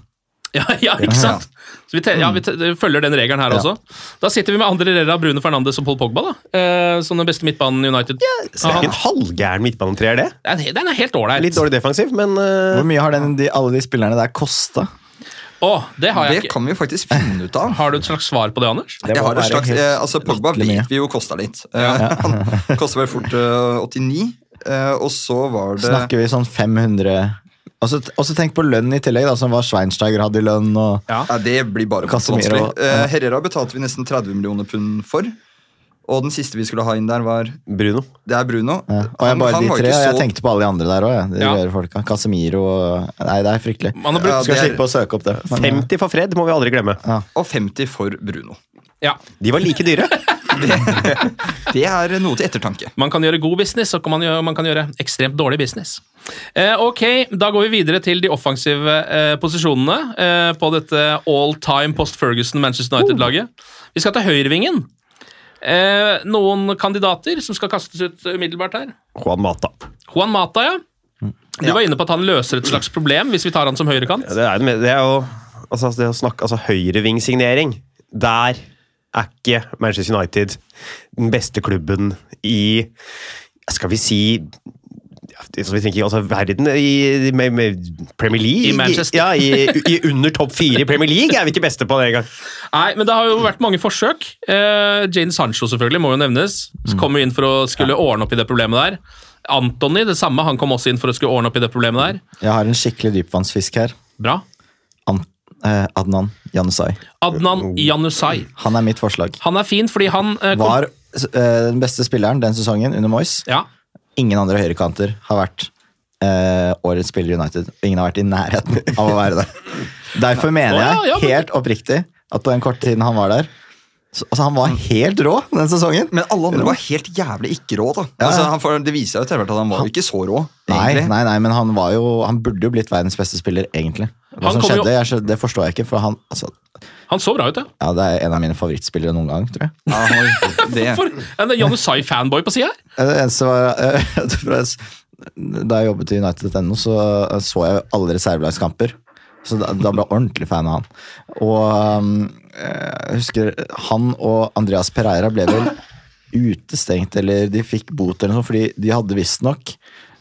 B: Ja, ja ikke sant? Så vi, te ja, vi te følger den regelen her også. Da sitter vi med andre deler av Brune Fernandes og Paul Pogba, da. Eh, Som den beste midtbanen i United.
D: Så det
B: Ah.
D: er ikke en halvgæren midtbanetreer, det.
B: Den er- den er helt ålreit.
D: Litt dårlig defensiv, men
C: Hvor
D: eh,
C: mye har den, de, alle de spillerne der kosta?
B: Å, det har jeg
E: Det
B: ikke.
E: kan vi jo faktisk finne ut av.
B: Har du et slags svar på det, Anders?
C: Det
E: jeg
C: må
E: har et
C: være
E: slags,
C: helt
E: eh, altså Pogba
C: latterlig mye.
E: vet vi jo kosta litt. Eh, han kosta vel fort eh, 89, eh, og så var det
C: Snakker vi sånn 500 Og så og så tenk på lønn i tillegg, da, som var Schweinsteiger hadde i lønn. Og,
B: Ja.
E: Ja, Det blir bare
C: Casemiro,
E: vanskelig.
C: ja.
E: Eh, Herrera betalte vi nesten 30 millioner pund for. Og den siste vi skulle ha inn der, var
B: Mm.
D: Bruno.
E: Det er Bruno.
C: ja. og jeg bare de
E: var
C: tre,
E: ikke
C: og jeg
E: så-
C: tenkte på alle de andre der òg. Ja. De
B: Ja.
C: rare folka. Casemiro og Nei, det er fryktelig.
B: Man har
E: Ja,
B: brukt,
C: Skal
E: det er-
C: slippe å søke opp det. Men, eh,
D: 50 for Fred må vi aldri glemme.
E: Og 50 for Bruno.
B: ja.
D: De var like dyre.
E: Det er noe til ettertanke.
B: Man kan gjøre god business, og man, gjøre, man kan gjøre ekstremt dårlig business. Eh, ok, Da går vi videre til de offensive eh, posisjonene eh, på dette all time post Ferguson Manchester United-laget. Vi skal til høyrevingen. Eh, noen kandidater som skal kastes ut umiddelbart her?
D: Juan Mata.
B: Juan Mata, ja. Du var inne på at han løser et slags problem hvis vi tar han som høyrekant.
D: Ja, Det er, jo med- det er jo altså, det å snakke, altså høyrevingsignering. Der er ikke Manchester United den beste klubben i Skal vi si ja, det- så vi tenker, altså verden i med, med Premier League
B: I Manchester.
D: Ja, i, i under topp fire i Premier League er vi ikke beste på det engang.
B: Nei, men det har jo vært mange forsøk. Eh, Jane Sancho selvfølgelig må jo nevnes. Så kom jo inn for å skulle ordne opp i det problemet der. Anthony, det samme. Han kom også inn for å skulle ordne opp i det problemet der.
C: Jeg har en skikkelig dypvannsfisk her.
B: Bra.
C: An eh, Adnan Janusai.
B: Adnan Janusai.
C: Han er mitt forslag.
B: Han er fin fordi han eh, kom-
C: Var eh, den beste spilleren den sesongen under Moyes.
B: Ja.
C: Ingen andre høyrekanter har vært eh, årets spiller i United. Ingen har vært i nærheten av å være det. Derfor mener
B: Å, ja, ja,
C: jeg
B: men-
C: helt oppriktig at på den korte tiden han var der så, altså Han var helt rå den sesongen.
E: Men alle andre var helt jævlig ikke rå, da. Altså, han, får- det viser seg jo til hvert fall at han var jo ikke så rå,
C: Nei,
E: egentlig.
C: nei, nei, men han, var jo, han burde jo blitt verdens beste spiller, egentlig. Hva
B: Han kom
C: som
B: jo-
C: skjedde, jeg, skjø- det forstår jeg ikke. For han, altså,
B: Han så bra ut, ja.
C: ja, det er en av mine favorittspillere noen gang, tror jeg.
E: Ja, han var- det.
B: For en Janusai-fanboy på sida her.
C: Eh, Det eneste var eh, fra jeg s- Da jeg jobbet i United.no, så eh, så jeg alle reservelagskamper. Så da, da ble jeg ordentlig fan av han. Og um, jeg husker han og Andreas Pereira ble vel utestengt, eller de fikk bot eller noe, sånt, fordi de hadde visstnok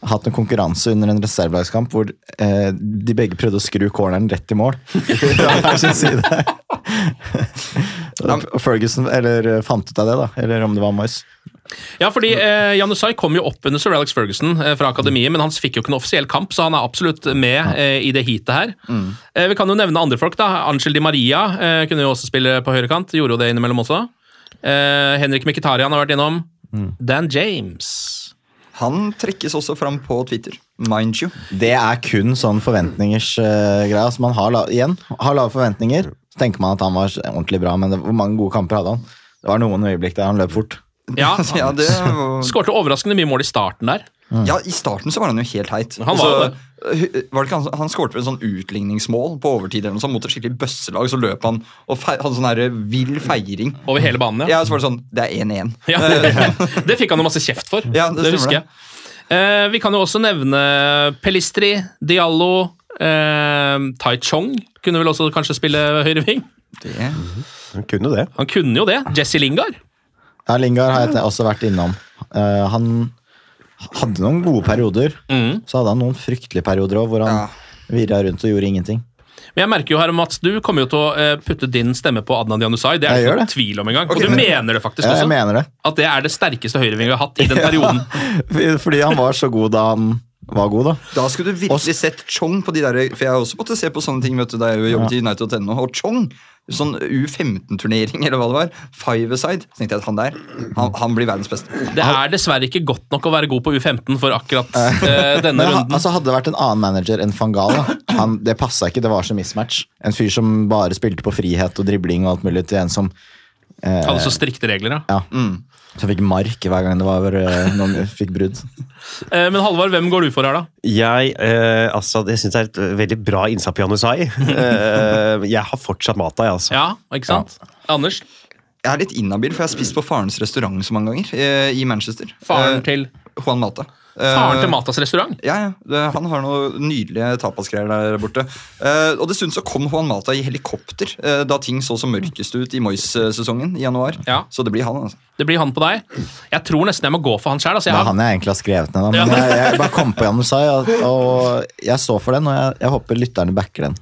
C: hatt en konkurranse under en reservelagskamp hvor eh, de begge prøvde å skru corneren rett i mål. Fra hver sin side. Og Ferguson eller, eh, fant ut av det, da. Eller om det var Moyes.
B: Ja, fordi eh, Janusai kom jo opp under Sir Alex Ferguson eh, fra akademiet, men han fikk jo ikke noen offisiell kamp, så han er absolutt med eh, i det heatet her. Eh, vi kan jo nevne andre folk, da. Angel Di Maria eh, kunne jo også spille på høyrekant, gjorde jo det innimellom også. Eh, Henrik Mkhitarian har vært innom. Dan James.
E: Han trekkes også fram på Twitter, mind you.
C: Det er kun sånn forventningers uh, greie. Altså man har, la igjen, har lave forventninger, så tenker man at han var ordentlig bra, men det, hvor mange gode kamper hadde han? Det var noen øyeblikk der han løp fort.
B: Ja,
E: Ja, det var-
B: Skårte overraskende mye mål i starten der.
E: Ja, I starten så var han jo helt heit.
B: Han var
E: Altså,
B: det.
E: hu- var det ikke han, han skårte vel en sånn utligningsmål på overtid eller noe sånt, mot et skikkelig bøsselag. Så løp han og fe hadde sånn her vill feiring.
B: Over hele banen, ja.
E: Ja, Så var det sånn Det er 1-1.
B: Ja, det fikk han jo masse kjeft for.
E: Ja, det
B: det,
E: stemmer
B: husker
E: det.
B: jeg. Eh, vi kan jo også nevne Pelistri, Diallo, eh, Tai Chong kunne vel også kanskje spille høyreving.
E: Det.
D: Han kunne det.
B: Han kunne jo det. Jesse Lingard.
C: Ja, Lingard har jeg te- også vært innom. Eh, han hadde noen gode perioder.
B: Mm.
C: Så hadde han noen fryktelige perioder òg, hvor han
E: Ja.
C: virra rundt og gjorde ingenting.
B: Men jeg merker jo her, Mats, du kommer jo til å eh, putte din stemme på Adnan Janusai. Det er
C: Jeg
B: det
C: gjør
B: ikke noen
C: det.
B: tvil om engang.
E: Ok,
B: Og du
E: men-
B: mener det faktisk
C: Ja, jeg
B: også.
C: mener det.
B: At det er det sterkeste høyrevingen vi har hatt i den perioden.
C: Fordi han var så god da han var god, da.
E: Da skulle du virkelig sett Chong på de der For jeg har også måttet se på sånne ting vet du, da jeg jobbet i United.no. Og Chong, sånn U15-turnering eller hva det var, five-a-side, så tenkte jeg at han der, han, han blir verdens beste.
B: Det er dessverre ikke godt nok å være god på U15 for akkurat eh, denne
C: Men ha,
B: runden.
C: altså Hadde det vært en annen manager enn Fangal, da. Han, det passa ikke. Det var så mismatch. En fyr som bare spilte på frihet og dribling og alt mulig, til en som
B: Hadde så strikte regler, ja.
C: ja, som fikk mark hver gang det var eh, noen fikk brudd.
B: Eh, men Halvard, hvem går du for her, da?
D: Jeg, eh, altså, jeg syns det er et veldig bra innsats på Janusai. Eh, jeg har fortsatt Mata, jeg, altså.
B: Ja, ikke sant? Anders?
E: Jeg er litt inhabil, for jeg har spist på farens restaurant så mange ganger eh, i Manchester.
B: Faren
E: Eh,
B: til
E: Juan Mata. Eh,
B: Faren til Matas restaurant?
E: Ja, ja. Det- Han har noen nydelige tapasgreier der borte. Eh, og Dessuten så kom Juan Mata i helikopter eh, da ting så som mørkest ut i Moyes-sesongen i januar.
B: Ja.
E: Så det blir han, altså.
B: Det blir han på deg. Jeg tror nesten jeg må gå for han sjøl. Altså,
C: Det
B: jeg
C: er
B: har-
C: han jeg egentlig har skrevet ned, da. Men
B: Ja.
C: jeg, jeg bare kom på Janusai, og, og jeg står for den, og jeg, jeg håper lytterne backer den.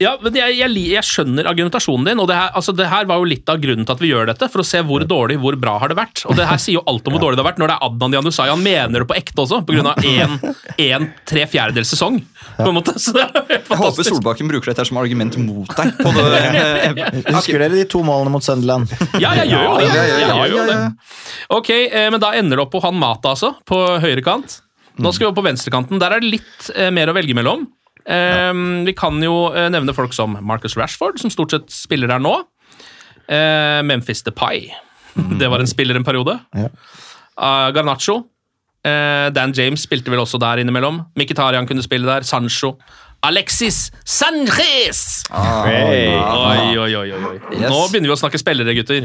B: ja, men jeg, jeg, li- jeg skjønner argumentasjonen din, og det her, altså, det her var jo litt av grunnen til at vi gjør dette. For å se hvor dårlig, hvor bra har det vært. Og det her sier jo alt om hvor dårlig det har vært, når det er Adnan Janusai. Han mener det på ekte også, pga. én, én tre fjerdedels sesong. På en måte. Så det er helt
E: Jeg håper
B: fantastisk.
E: Solbakken bruker dette som argument mot deg. På det,
C: Husker dere de to målene mot Sunderland?
B: Ja, jeg gjør jo det.
E: Ja, ja, ja,
B: Jeg gjør jo
E: ja, ja.
B: det. Ok, eh, men da ender det opp på han Mata, altså. På høyrekant. Nå skal vi over på venstrekanten. Der er det litt eh, mer å velge mellom. Eh, Vi kan jo eh, nevne folk som Marcus Rashford, som stort sett spiller der nå. Eh, Memphis DePay. Det var en spiller en periode.
C: Ja.
B: Eh, Garnaccio. Eh, Dan James spilte vel også der innimellom. Mkhitarian kunne spille der. Sancho. Alexis Sanchez!
D: Hey.
B: Ah, Oi, oi, oi, oi.
E: Yes.
B: Nå begynner vi å snakke spillere, gutter.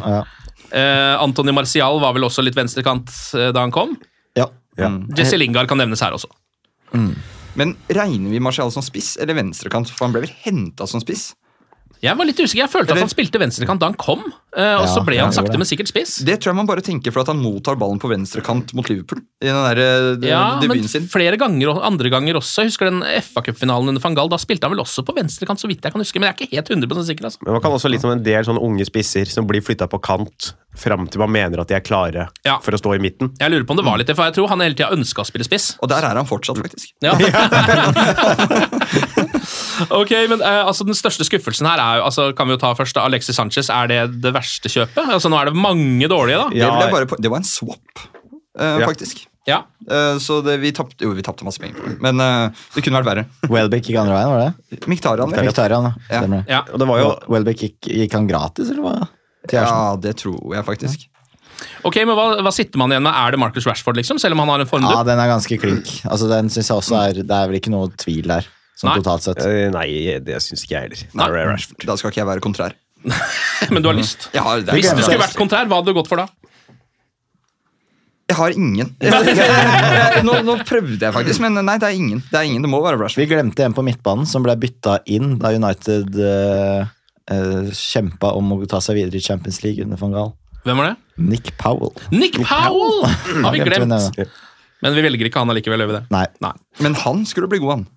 B: Eh, Antony Martial var vel også litt venstrekant eh, da han kom.
C: Ja.
D: Ja.
B: Jesse Lingard kan nevnes her også.
E: Men regner vi Martial som spiss eller venstrekant? For han ble vel henta som spiss?
B: Jeg var litt usikker, jeg følte at han spilte venstrekant da han kom, eh, og
C: Ja,
B: så ble
C: ja,
B: han
C: det gjorde
B: sakte,
C: det.
B: men sikkert spiss.
E: Det tror jeg man bare tenker for at han mottar ballen på venstrekant mot Liverpool. I den der, eh, de,
B: Ja, men
E: debuten sin.
B: flere ganger og andre ganger også. Jeg husker den FA-cupfinalen under van Gaal. Da spilte han vel også på venstrekant, så vidt jeg kan huske. Men jeg er ikke helt 100 sikker. altså.
D: Men man kan også liksom en del sånne unge spisser som blir flytta på kant fram til man mener at de er klare
B: Ja.
D: for å stå i midten.
B: Jeg lurer på om det var litt det, for jeg tror han hele tida ønska å spille spiss.
E: Og der er han fortsatt, faktisk.
B: Ja. ok, men eh, altså Den største skuffelsen her er jo altså, Kan vi jo ta først da, Alexis Sanchez. Er det det verste kjøpet? Altså Nå er det mange dårlige, da.
E: Det,
D: Ja.
E: vil jeg bare, po- det var en swap, eh,
D: Ja.
E: faktisk.
B: Ja.
E: Eh, så det, vi tapte Jo, vi tapte masse penger, på det, men eh, det kunne vært verre.
C: Welbeck gikk andre veien, var det?
E: Miktarian, vel?
C: Mkhitaryan, ja.
E: Ja.
C: Stemmer det.
B: ja.
D: Og det var jo
C: Wel- Welbeck gikk, gikk han gratis, eller hva? Til Arsenal.
E: Ja, det tror jeg faktisk.
B: Ok, men hva, hva sitter man igjen med? Er det Marcus Rashford, liksom? Selv om han har en
C: Ja,
B: formdupp?
C: den er ganske klink. Altså, den synes jeg også er, Det er vel ikke noe tvil der, sånn
B: Nei.
C: totalt sett.
D: Eh, Nei, det syns ikke jeg heller.
B: Nei.
D: Det er Rashford.
E: Da skal ikke jeg være kontrær.
B: men du har lyst?
E: Jeg har, det er
B: Hvis
E: ikke-
B: du skulle vært kontrær, hva hadde du gått for da?
E: Jeg har ingen. Jeg- jeg- Nå, nå prøvde jeg faktisk, men nei, det er ingen. Det, er ingen. det må være Rashford.
C: Vi glemte en på midtbanen som ble bytta inn da United uh, kjempa om å ta seg videre i Champions League under van Gaal.
B: Hvem var det?
C: Nick Powell.
B: Nick Powell! Har vi
C: Glemte vi
B: glemt.
C: nevne.
B: Men vi velger ikke han allikevel, gjør vi det?
C: Nei.
E: Men han skulle bli god, han.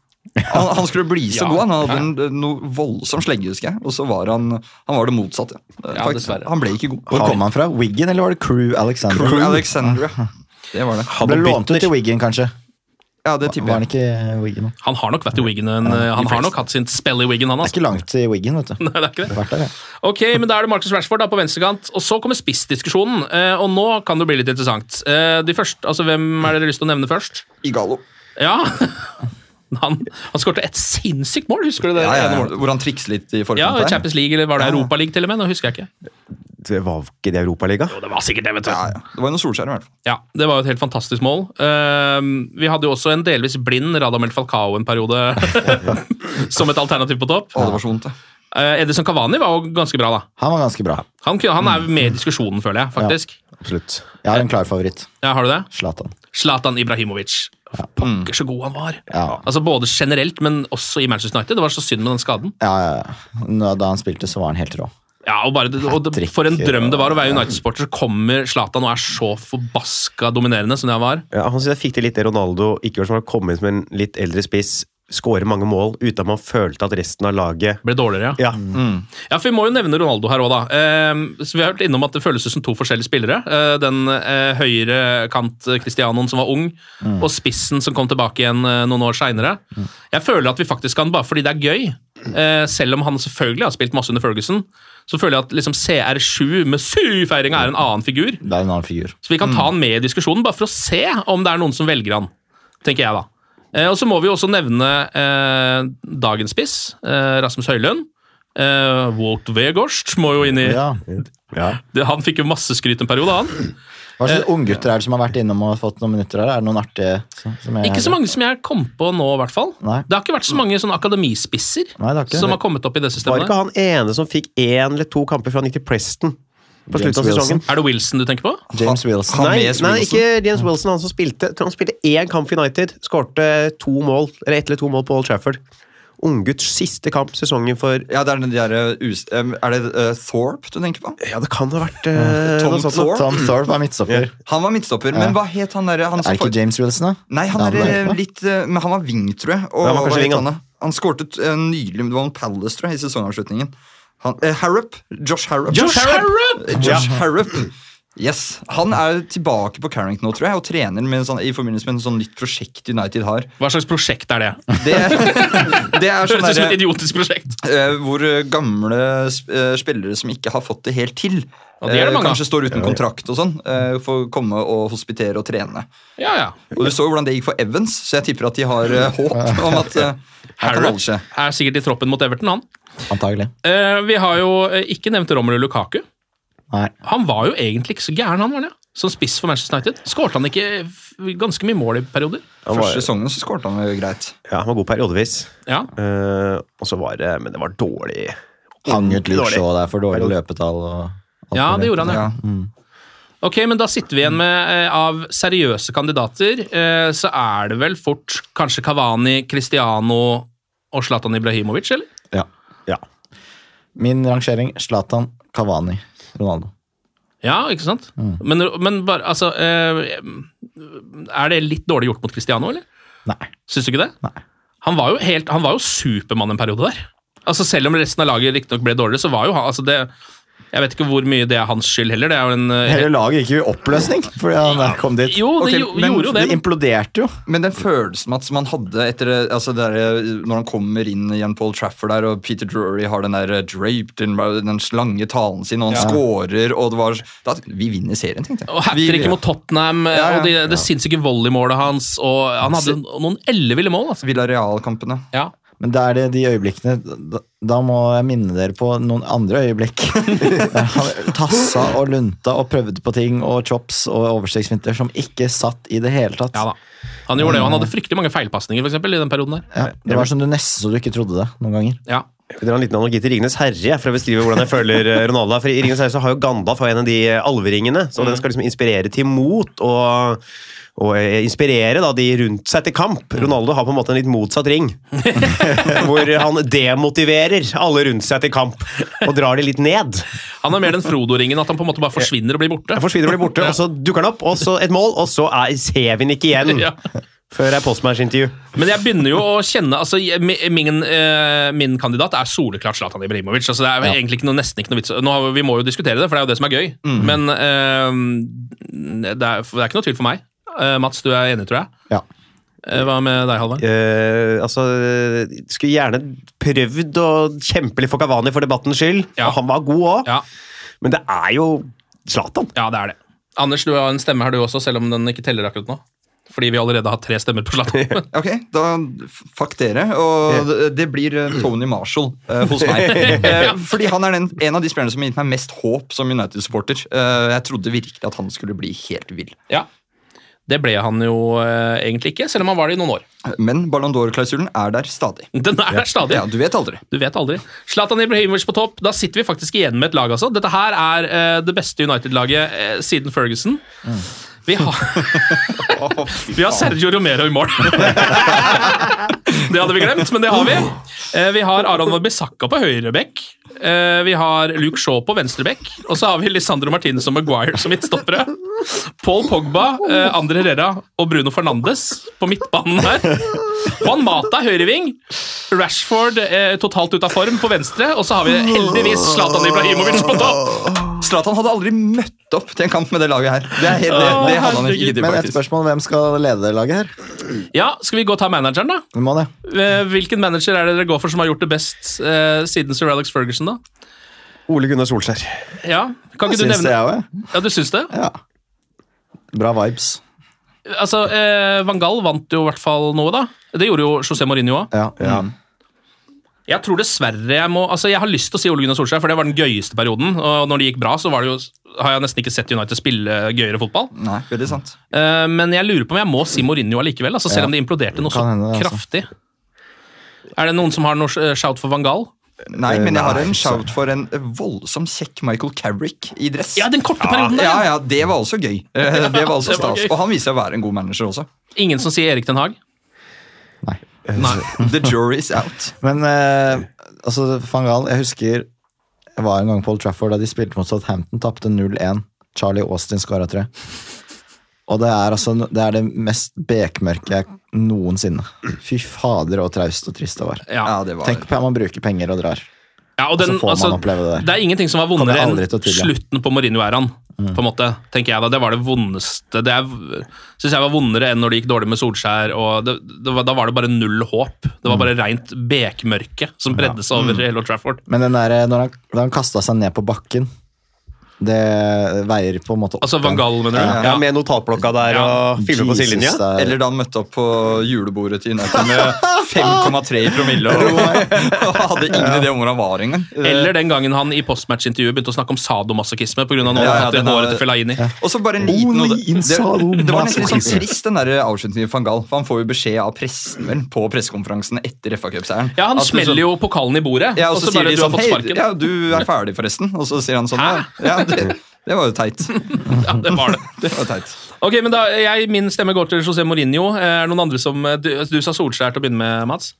E: Han, han skulle bli så
B: Ja.
E: god. Han hadde en, eh, noe voldsom slegge, husker jeg. Og så var han, han var det motsatte. eh,
B: Ja,
E: faktisk.
B: dessverre.
E: han ble ikke god.
C: Hvor kom han fra? Wiggen, eller var det Crew Alexander?
E: Crew Alexandria. Det var det.
C: Han ble lånt ut til Wiggen, kanskje.
E: Ja, det
C: Var
E: tipper
C: han
E: jeg.
C: ikke Wiggen nå?
B: Han har nok vært i Wiggen, en, han har nok hatt sin spell i Wiggen, han.
C: Det er
B: Altså.
C: ikke langt til Wiggen, vet du.
B: Nei, det er ikke det.
C: Vært der, ja.
B: Ok, men Da er det Marcus Rashford da på venstrekant, og så kommer spissdiskusjonen. Eh, og nå kan det bli litt interessant. Eh, de første, altså Hvem er det dere lyst til å nevne først?
E: Igalo.
B: Ja, Han, han skårte et sinnssykt mål, husker du det?
E: Ja, ja,
B: ene
E: ja.
B: målet?
E: Hvor han trikser litt i
B: Ja,
E: forkant. der.
B: Champions League, eller var det
E: Ja, ja.
B: Europa League til og med? Nå husker jeg ikke.
D: Det var ikke det Europaliga?
B: Jo, det var sikkert det, vet du.
E: Ja, ja. Det var jo noe Solskjær, i hvert fall.
B: Ja, Det var jo et helt fantastisk mål. Eh, vi hadde jo også en delvis blind Radamel Falcao en periode som et alternativ på topp.
E: Å, det var så vondt, det.
B: Eh, Edison Cavani var jo ganske bra, da.
C: Han var ganske bra.
B: Han, kunne- han er
C: Mm.
B: med i diskusjonen, føler jeg. faktisk.
D: Absolutt.
C: Jeg har en klar favoritt.
B: Ja, har du det?
C: Zlatan.
B: Zlatan Ibrahimovic. Pokker så god han var.
C: Mm. Ja.
B: Altså Både generelt, men også i Manchester United. Det var så synd med den skaden.
C: Ja, ja, ja. Nå- Da han spilte, så var han helt rå.
B: Ja, og, bare, og det,
C: Hat-trick,
B: For en drøm det var å være
C: ja.
B: United-sporter, så kommer Zlatan og er så forbaska dominerende som det han var.
D: Ja, han synes jeg fikk til litt det Ronaldo ikke gjorde, som har kommet som en litt eldre spiss, skåre mange mål uten at man følte at resten av laget
B: Ble dårligere, ja.
D: Ja,
B: Ja, for Vi må jo nevne Ronaldo her òg, da. Ehm, så vi har vært innom at det føles ut som to forskjellige spillere. Eh, den eh, høyre kant eh, Cristianoen som var ung, og spissen som kom tilbake igjen eh, noen år seinere. Jeg føler at vi faktisk kan, bare fordi det er gøy, eh, selv om han selvfølgelig har spilt masse under Ferguson, så føler jeg at liksom CR7 med Su-feiringa er en annen figur.
C: Det er en annen figur.
B: Så vi kan ta han med i diskusjonen, bare for å se om det er noen som velger han. Tenker jeg da. Eh, og så må vi jo også nevne eh, dagens spiss, eh, Rasmus Høylund. Eh, Walt Weghorst må jo inn i
C: Ja.
B: det, Han fikk jo masse skryt en periode, han.
C: Hva
B: eh,
C: slags unggutter er det som har vært innom og fått noen minutter her? Er det noen artige som, som jeg
B: Ikke så mange som jeg kom på nå, i hvert fall.
C: Nei.
B: Det har ikke vært så mange sånne akademispisser
C: Nei, det har ikke.
B: som har kommet opp i det
D: Var
B: systemet.
D: ikke han ene som fikk én eller to kamper før han gikk til Preston på
C: James
D: slutten av
C: Wilson.
D: sesongen?
B: Er det Wilson du tenker på?
C: James Wilson.
E: Han
D: Nei,
E: med
D: nei,
E: Wilson.
D: ikke James Wilson, han som spilte. Jeg tror Han spilte én kamp for United, skårte to mål, eller ett eller to mål på Old Trafford. Unggutts siste kamp sesongen for
E: Ja, det er, den der, eh, us eh, er det eh, Thorpe du tenker på?
D: Ja, det kan ha vært eh,
E: Tom
D: noe sånt. nå.
E: Thorpe?
C: Tom Thorpe var midtstopper.
E: Han var midtstopper, men hva het han derre han
C: Er
E: som
C: det ikke
E: for-
C: James Wilson, da?
E: Nei, han
C: Da
E: er
C: ble det
E: eh,
C: ikke, da.
E: litt eh, Men han var wing, tror jeg. Og,
D: Ja, han var
E: hva het
D: kanskje wing,
E: han, da? han skårte eh, nylig Det var en Palace, tror jeg, i sesongavslutningen. Han, eh, Harrop. Josh Harrop.
B: Josh Harrop!
E: Eh, Josh Harrop. Yes. Han er tilbake på Carrington nå, tror jeg, og trener med en sånn, i forbindelse med en sånn nytt prosjekt United har.
B: Hva slags prosjekt er
C: Sånn
B: det?
E: Det, det er sånn
B: Høres ut som et
E: derre
B: idiotisk prosjekt.
E: eh, hvor eh, gamle sp- eh, spillere som ikke har fått det helt til,
B: Og det er det
E: eh,
B: mange av.
E: kanskje står uten kontrakt og sånn, eh, får komme og hospitere og trene.
B: Ja, ja.
E: Og Du så jo hvordan det gikk for Evans, så jeg tipper at de har eh, håp om at eh, her kan
B: Harrop
E: alle skje.
B: er sikkert i troppen mot Everton, han.
C: Antagelig.
B: Eh, vi har jo eh, ikke nevnt Romelu Lukaku. Han var jo egentlig ikke så gæren, han var det. Som spiss for Manchester United. Skårte han ikke f- ganske mye mål i perioder?
E: Første sesongen så skåret han jo greit.
D: Ja, han var god periodevis.
B: Ja.
D: Eh, og så var det Men det var dårlig.
C: Hang ut Luke
D: Mm, Dårlig.
C: Shaw der for dårlig løpetall. Og alt
B: ja,
C: mulig.
B: det gjorde han, ja.
E: Ja.
B: Ok, men da sitter vi igjen med eh, av seriøse kandidater. Eh, så er det vel fort kanskje Kavani, Cristiano og Zlatan Ibrahimovic, eller?
C: Ja.
D: Ja.
C: Min rangering Zlatan Kavani Ronaldo.
B: Ja, ikke sant? Men, men bare, altså eh, Er det litt dårlig gjort mot Cristiano, eller?
C: Nei.
B: Syns du ikke det?
C: Nei.
B: Han var jo, helt, han var jo supermann en periode der. Altså Selv om resten av laget riktignok ble dårligere, så var jo han altså det, Jeg vet ikke hvor mye det er hans skyld heller. Det er jo en eh,
C: Hele laget gikk jo i oppløsning fordi han der kom dit.
B: Jo, det
E: Ok,
B: gjo-
E: men
B: gjorde jo det.
C: Det imploderte jo.
E: Men den følelsen at som han hadde etter det- altså det der, Når han kommer inn igjen Paul Trafford der, og Peter Drury har den der eh, draped in by- den lange talen sin, og han scorer og det var, da, Vi vinner serien, tenkte jeg.
B: Og hat
E: Vi-
B: tricket mot Tottenham, eh,
E: Ja, ja.
B: og det, det sinnssyke volleymålet hans. Og han hadde noen elleville mål, altså.
E: Villarreal-kampene.
B: Ja.
C: Men det er det de øyeblikkene da, da må jeg minne dere på noen andre øyeblikk. Han tassa og lunta og prøvde på ting og chops og overstegsvinter som ikke satt i det hele tatt.
B: ja da. Han gjorde det, og han
E: Mm.
B: hadde fryktelig mange feilpasninger for eksempel, i den perioden der.
C: Ja, det var som du nesten så du ikke trodde det noen ganger.
B: Ja.
D: Jeg vil dra en liten analogi til Ringenes herre jeg, for å beskrive hvordan jeg føler eh, Ronaldo. er. For I Ringenes herre så har jo Gandalf har en av de eh, alveringene, så
B: Mm.
D: den skal liksom inspirere til mot og, og eh, inspirere da, de rundt seg til kamp.
B: Mm.
D: Ronaldo har på en måte en litt motsatt ring, hvor han demotiverer alle rundt seg til kamp og drar de litt ned.
B: Han er mer den Frodo-ringen, at han på en måte bare forsvinner og blir borte.
D: Han forsvinner og blir borte, og så dukker han opp, og så et mål, og så er, ser vi han ikke igjen
B: Ja.
D: før det er postmatch-intervju.
B: Men jeg begynner jo å kjenne altså, jeg- mi- min, eh, min kandidat er soleklart Zlatan Ibrahimovic. Altså, det er jo egentlig ikke noe, nesten ikke noe vits. Nå, har vi- vi må jo diskutere det, for det er jo det som er gøy. Men eh, det, er, det er ikke noe tvil for meg. Eh, Mats, du er enig, tror jeg.
C: Ja.
B: Eh, hva med deg, Halvard?
D: Eh, altså, skulle gjerne prøvd å kjempe litt for Kavani for debattens skyld.
B: Ja.
D: Og han var god òg,
B: Ja.
D: men det er jo Zlatan.
B: Ja, det er det. Anders, du har en stemme her du også, selv om den ikke teller akkurat nå. Fordi vi allerede har tre stemmer på Zlatan.
E: Ok, da f- fuck dere. Og det- det blir eh, Tony Marshall eh, hos meg. Eh, Fordi han er den, en av de spillerne som har gitt meg mest håp som United-supporter. Eh, Jeg trodde virkelig at han skulle bli helt vill.
B: ja. Det ble han jo eh, egentlig ikke, selv om han var det i noen år.
E: Men Ballon d'Or-klausulen er der stadig.
B: Den er der stadig.
E: Ja, Du vet aldri.
B: Du vet aldri. Zlatan Ibrahimovic på topp. Da sitter vi faktisk igjen med et lag, altså. Dette her er eh, det beste United-laget eh, siden Ferguson. Vi har, vi har Sergio Romero i mål. det hadde vi glemt, men det har vi. Eh, vi har Aron Wabisaka på høyrebekk. Eh, vi har Luke Shaw på venstrebekk. Og så har vi Lisandro Martinez og Maguire som midtstoppere. Paul Pogba, eh, Andre Herrera og Bruno Fernandes på midtbanen her. Juan Mata høyreving. Rashford eh, totalt ut av form på venstre. Og så har vi heldigvis Zlatan Ibrahimovic på topp!
E: Zlatan hadde aldri møtt opp til en kamp med det laget her. Det, er helt, det, det hadde han ikke giddet,
C: Men et
E: faktisk.
C: spørsmål, hvem skal lede det laget her?
B: Ja, Skal vi gå og ta manageren, da?
C: Vi må det.
B: Eh, Hvilken manager er det dere går for som har gjort det best eh, siden sir Alex Ferguson, da?
D: Ole Gunnar Solskjær.
B: Ja, kan ikke du
C: Syns det,
B: nevne
C: jeg òg.
B: Ja, du syns det?
C: Ja. Bra vibes.
B: Altså, eh, Van Gaal vant jo i hvert fall noe, da. Det gjorde jo José Mourinho òg.
C: Ja. Mm.
B: Jeg tror dessverre jeg må Altså, jeg har lyst til å si Ole Gunnar Solskjær, for det var den gøyeste perioden. Og når det gikk bra, så var det jo har jeg nesten ikke sett United spille gøyere fotball.
E: Nei, veldig sant.
B: Eh, men jeg lurer på om jeg må si Mourinho allikevel, altså, selv om det imploderte noe så
C: Kan hende det, altså.
B: kraftig. Er det noen som har noe eh, shout for Van Gaal?
E: Nei, men jeg har
C: Eh, Nei,
E: en
C: så-
E: shout for en voldsom kjekk Michael Carrick i dress.
B: Ja, den korte perioden der!
E: ja, ja, det var også gøy. Eh, Det var også
B: det var
E: stas.
B: gøy.
E: Og han viser seg å være en god manager også.
B: Ingen som sier Erik Den Haag?
C: Nei.
B: Nei.
E: The jury is out.
C: Men eh, altså, van Gaal, jeg husker jeg var en gang på Old Trafford da de spilte mot Southampton, tapte 0-1. Charlie Austin skåra tre. Og det er, altså, det er det mest bekmørke jeg noensinne. Fy fader, og traust og trist det var.
B: Ja.
E: Ja, det var
C: Tenk på at man bruker penger og drar.
B: Ja, og
C: så
B: den, altså,
C: får man oppleve det der.
B: Det er ingenting som var
C: Kommer
B: vondere
C: jeg
B: enn
C: aldri til å tilgi.
B: slutten på Mourinho-æraen. På en måte, tenker jeg da. Det var det vondeste Det syns jeg var vondere enn når det gikk dårlig med Solskjær. Og det, det var, da var det bare null håp. Det var bare rent bekmørke som bredde seg over hele Old Trafford.
C: Men den der, eh, når han, da han kasta seg ned på bakken Det veier på en måte opp.
B: Altså Van Gaal, mener du?
C: Ja.
D: Ja, med notatblokka der
B: Ja.
D: og filmer på
C: Jesus,
D: sidelinja.
C: det er-
E: Eller da han møtte opp på julebordet til United med 5,3 i promille og, og hadde ingen idé om hvor han var engang.
B: Eller den gangen han i postmatch-intervjuet begynte å snakke om sadomasochisme pga. noen
E: Ja, ja,
B: ja, ja,
E: den er-
B: håret til Fellaini.
E: Og så bare en liten
C: Only
E: det, det,
C: inside
E: det var nesten litt sånn
C: masochism.
E: trist, den der avslutningen for van Gaal. For han får jo beskjed av pressen vel, på pressekonferansen etter FA-cupseieren.
B: Ja, han smeller jo pokalen i bordet,
E: liksom- sånn- ja,
B: og så
E: sier
B: bare
E: de
B: du har
E: sånn,
B: fått
E: «Hei,
B: sparken.
E: Ja, du er ferdig, forresten. Og så sier han sånn.
B: Hæ?
E: Ja, det, det var jo teit. Det
B: Ja, det var det.
E: var teit.
B: Ok, men da, jeg, Min stemme går til José Mourinho. Eh, Er det noen andre som Du, altså, du sa Solskjær til å begynne med, Mats?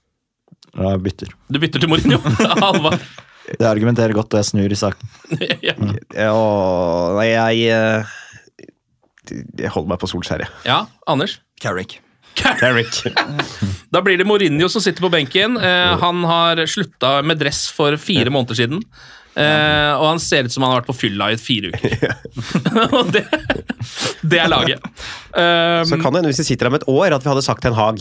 C: Ja, jeg bytter.
B: Du bytter til Mourinho? Alvar?
C: Det argumenterer godt, og jeg snur i saken.
B: Ja.
D: Ja, og- nei, jeg eh, Jeg holder meg på Solskjær, jeg.
B: ja, Anders?
E: Carrick.
D: Carrick.
B: Da blir det Mourinho som sitter på benken. Eh, han har slutta med dress for fire måneder siden. Eh, og han ser ut som han har vært på fylla i fire uker. Og det, det er laget. Eh,
D: Så kan det hende hvis vi sitter her om et år, at vi hadde sagt Ten Hag.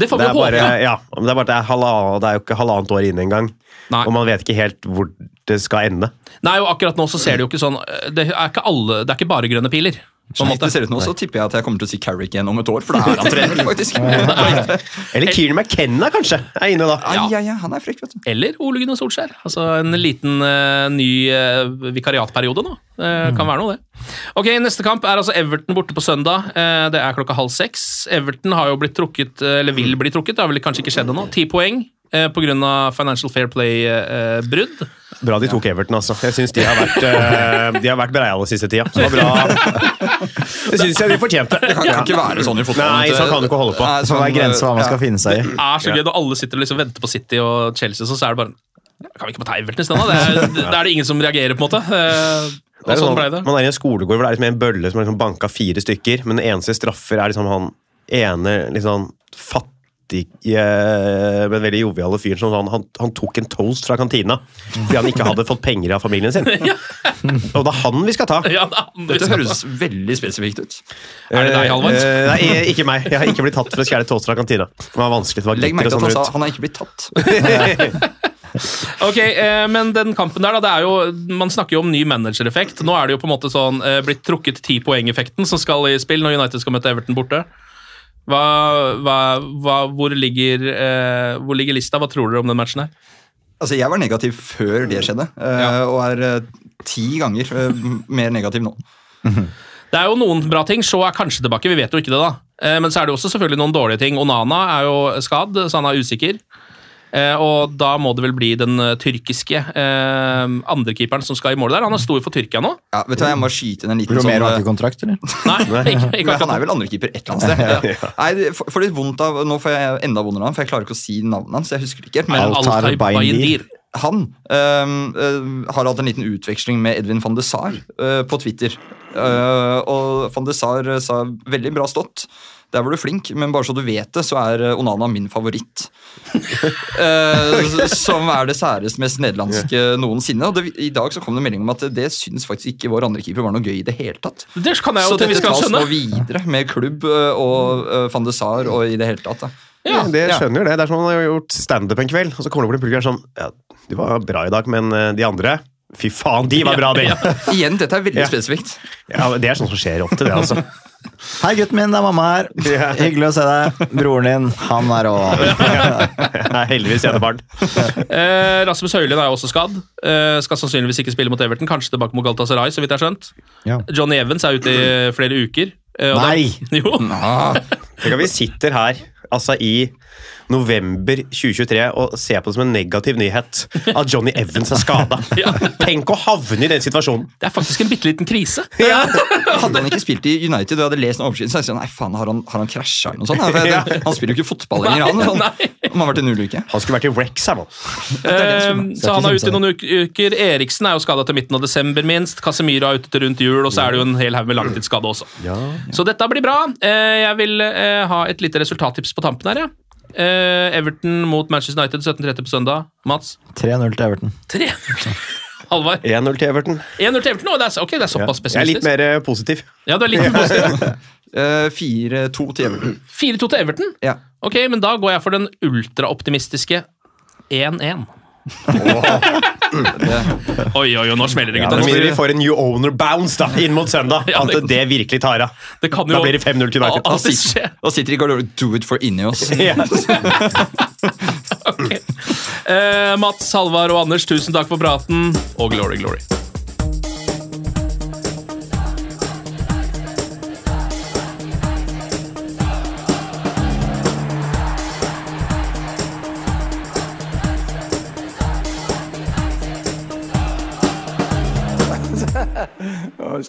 B: det får vi
D: Det er
B: håpe.
D: bare, ja, men det er bare det er halvannet, det er jo ikke halvannet år inne engang.
B: Nei.
D: Og man vet ikke helt hvor det skal ende.
B: Nei, og akkurat nå så ser det jo ikke sånn Det er ikke, alle, det er ikke bare grønne piler. På en
E: Slik
B: måte.
E: det ser ut nå, så tipper jeg at jeg kommer til å si Carrick igjen om et år, for da er han trener, faktisk. Ai,
D: Eller Kieran McKenna, kanskje, er inne da.
E: ai, ai, han er frekk, vet du.
B: Eller Ole Gunnar Solskjær. Altså en liten eh, ny eh, vikariatperiode nå. Eh, Kan være noe, det. Ok, Neste kamp er altså Everton borte på søndag. Eh, det er klokka halv seks. Everton har jo blitt trukket, eh, eller vil bli trukket, det har vel kanskje ikke skjedd ennå. Ti poeng eh, på grunn av Financial Fair eh, Play-brudd.
D: Bra de tok Everton, altså. Jeg syns de har vært, eh, de har vært breiale siste tida. Så det var bra. Det syns jeg de fortjente.
E: Det kan, kan ikke være sånn i fotballen.
D: Nei,
E: at-
D: sånn kan du ikke holde på.
E: Nei,
C: Så det
E: sånn,
C: er grenser for hva man
E: ja.
C: skal finne seg i.
B: Det er så gøy når alle sitter og liksom venter på City og Chelsea, så er det bare Kan vi ikke bare ta Everton i stedet? da? Det er, da er det ingen som reagerer, på en måte. Eh,
D: Det
B: og
D: er
B: sånn
D: sånn,
B: ble det.
D: man er i en skolegård hvor det er liksom en bølle som har liksom banka fire stykker, men den eneste straffer er liksom han ene liksom fattige, men veldig joviale fyren som sånn, han, han tok en toast fra kantina fordi han ikke hadde fått penger av familien sin. Og det er han vi skal ta.
B: Ja, det er andre
E: Dette
B: som-
E: høres veldig spesifikt ut.
B: Er det deg, Halvard?
D: Eh, nei, ikke meg. Jeg har ikke blitt tatt for å stjele toast fra kantina. Det var vanskelig, det var
E: Legg merke til
D: glitter
E: at
D: og
E: han
D: sånn
E: sa
D: rundt.
E: han er ikke blitt tatt.
B: Ok, eh, men den kampen der, da, det er jo, man snakker jo om ny managereffekt. Nå er det jo på en måte sånn eh, blitt trukket ti poeng-effekten som skal i spill når United skal møte Everton borte. Hva, hva, hva, hvor, ligger, eh, hvor ligger lista? Hva tror dere om den matchen her?
E: Altså, Jeg var negativ før det skjedde, eh,
B: Ja.
E: og er eh, ti ganger eh, m- mer negativ nå.
B: Det er jo noen bra ting. Shaw er kanskje tilbake, vi vet jo ikke det, da. Eh, Men så er det jo også selvfølgelig noen dårlige ting. Onana er jo skadd, så han er usikker. Eh, Og da må det vel bli den eh, tyrkiske eh, andrekeeperen som skal i mål der. Han er stor for Tyrkia nå.
E: Ja, vet du hva, Jeg må skyte inn en liten
C: Romero har
E: sånn eh,
C: ikke kontrakt, eller?
B: Nei, ikke, ikke
E: men han
B: akkurat.
E: er vel andrekeeper et eller annet sted. Nei, det- for- for litt vondt av, Nå får jeg enda vondere av ham, for jeg klarer ikke å si navnet hans. jeg husker det ikke helt,
B: Men
E: men
C: Altar
B: Altai
C: Bayindir.
B: Bayindir.
E: Han eh, eh, har hatt en liten utveksling med Edvin van de Sar eh, på Twitter. Eh, og van de Sar eh, sa 'veldig bra stått'. Der var du flink, men bare så du vet det, så er eh, Onana min favoritt. Eh, s- som er det særest mest nederlandske noensinne. Og det, I dag så kom det melding om at det syns faktisk ikke vår andrekeeper var noe gøy i det hele tatt.
B: Det kan jeg
E: Så
B: jo til vi
E: dette
B: skal
E: tas nå
B: skjønne.
E: videre med klubb eh, og eh, van de Sar og i det hele tatt. Da.
B: Ja,
D: det
E: ja.
D: skjønner jo det. Det er som om man har gjort standup en kveld, og så kommer det opp en publikum som ja, Du var bra i dag, men eh, de andre Fy faen, de var bra, de!
E: Igjen, dette er veldig
D: Ja.
E: spesifikt.
D: Ja, men det er sånt som skjer ofte, det, altså.
C: Hei, gutten min, det er mamma her.
D: Ja.
C: Hyggelig å se deg. Broren din, han er òg
D: Jeg er heldigvis enebarn.
B: Eh, Rasmus Høylund er jo også skadd. Eh, skal sannsynligvis ikke spille mot Everton, kanskje tilbake mot Galatasaray, så vidt jeg har skjønt.
C: Ja.
B: Johnny Evans er ute i flere uker. Eh, og
C: Nei!
B: det er- jo.
D: Tenk at vi sitter her altså i november 2023 og ser på det som en negativ nyhet at Johnny Evans er skada.
B: Ja.
D: Tenk å havne i den situasjonen!
B: Det er faktisk en bitte liten krise.
E: Hadde han ikke spilt i United og jeg hadde lest en overskrift, så hadde jeg sagt nei faen, har han, har han krasja eller noe sånt? Nei, For jeg, han spiller jo ikke fotball lenger, han. han
B: Nei.
E: Om han har vært i null uke.
D: Han skulle vært i Rex her, mann.
B: Eh, så han er
C: ikke kimse
B: ute i noen uk- uker. Eriksen er jo skada til midten av desember, minst. Casemiro er ute til rundt jul, og så er det jo en hel haug med langtidsskade også. Så dette blir bra. Eh, jeg vil eh, ha et lite resultattips på tampen her, jeg. Eh, Everton mot Manchester United 17.30 på søndag. Mats?
C: 3-0 til Everton.
B: 3 Halvard?
D: 1-0 til Everton.
B: 1-0 til Everton? Å, det er, ok, det er
D: Ja.
B: såpass
D: Jeg er litt
B: pessimistisk.
D: mer eh, positiv.
B: Ja, du er litt positiv.
E: Eh, 4-2 til Everton.
B: 4-2 til Everton?
E: Ja.
B: Ok, men da går jeg for den ultraoptimistiske 1-1. Oi, oi, oi, nå smeller det,
D: Ja,
B: gutta.
D: det
B: Nå
D: blir
B: blir
D: vi får en new owner bounce da, inn mot søndag.
B: Ja, det-
D: At det virkelig tar av.
B: det kan jo
D: Da blir det 5-0 til United.
B: al-
E: Da
B: alltid
E: sitter,
B: skje.
E: da sitter de ikke og do it for inni oss.
D: Ja.
B: Eh, Mats, Halvard og Anders, tusen takk for praten, og glory, glory.
F: Oh, it's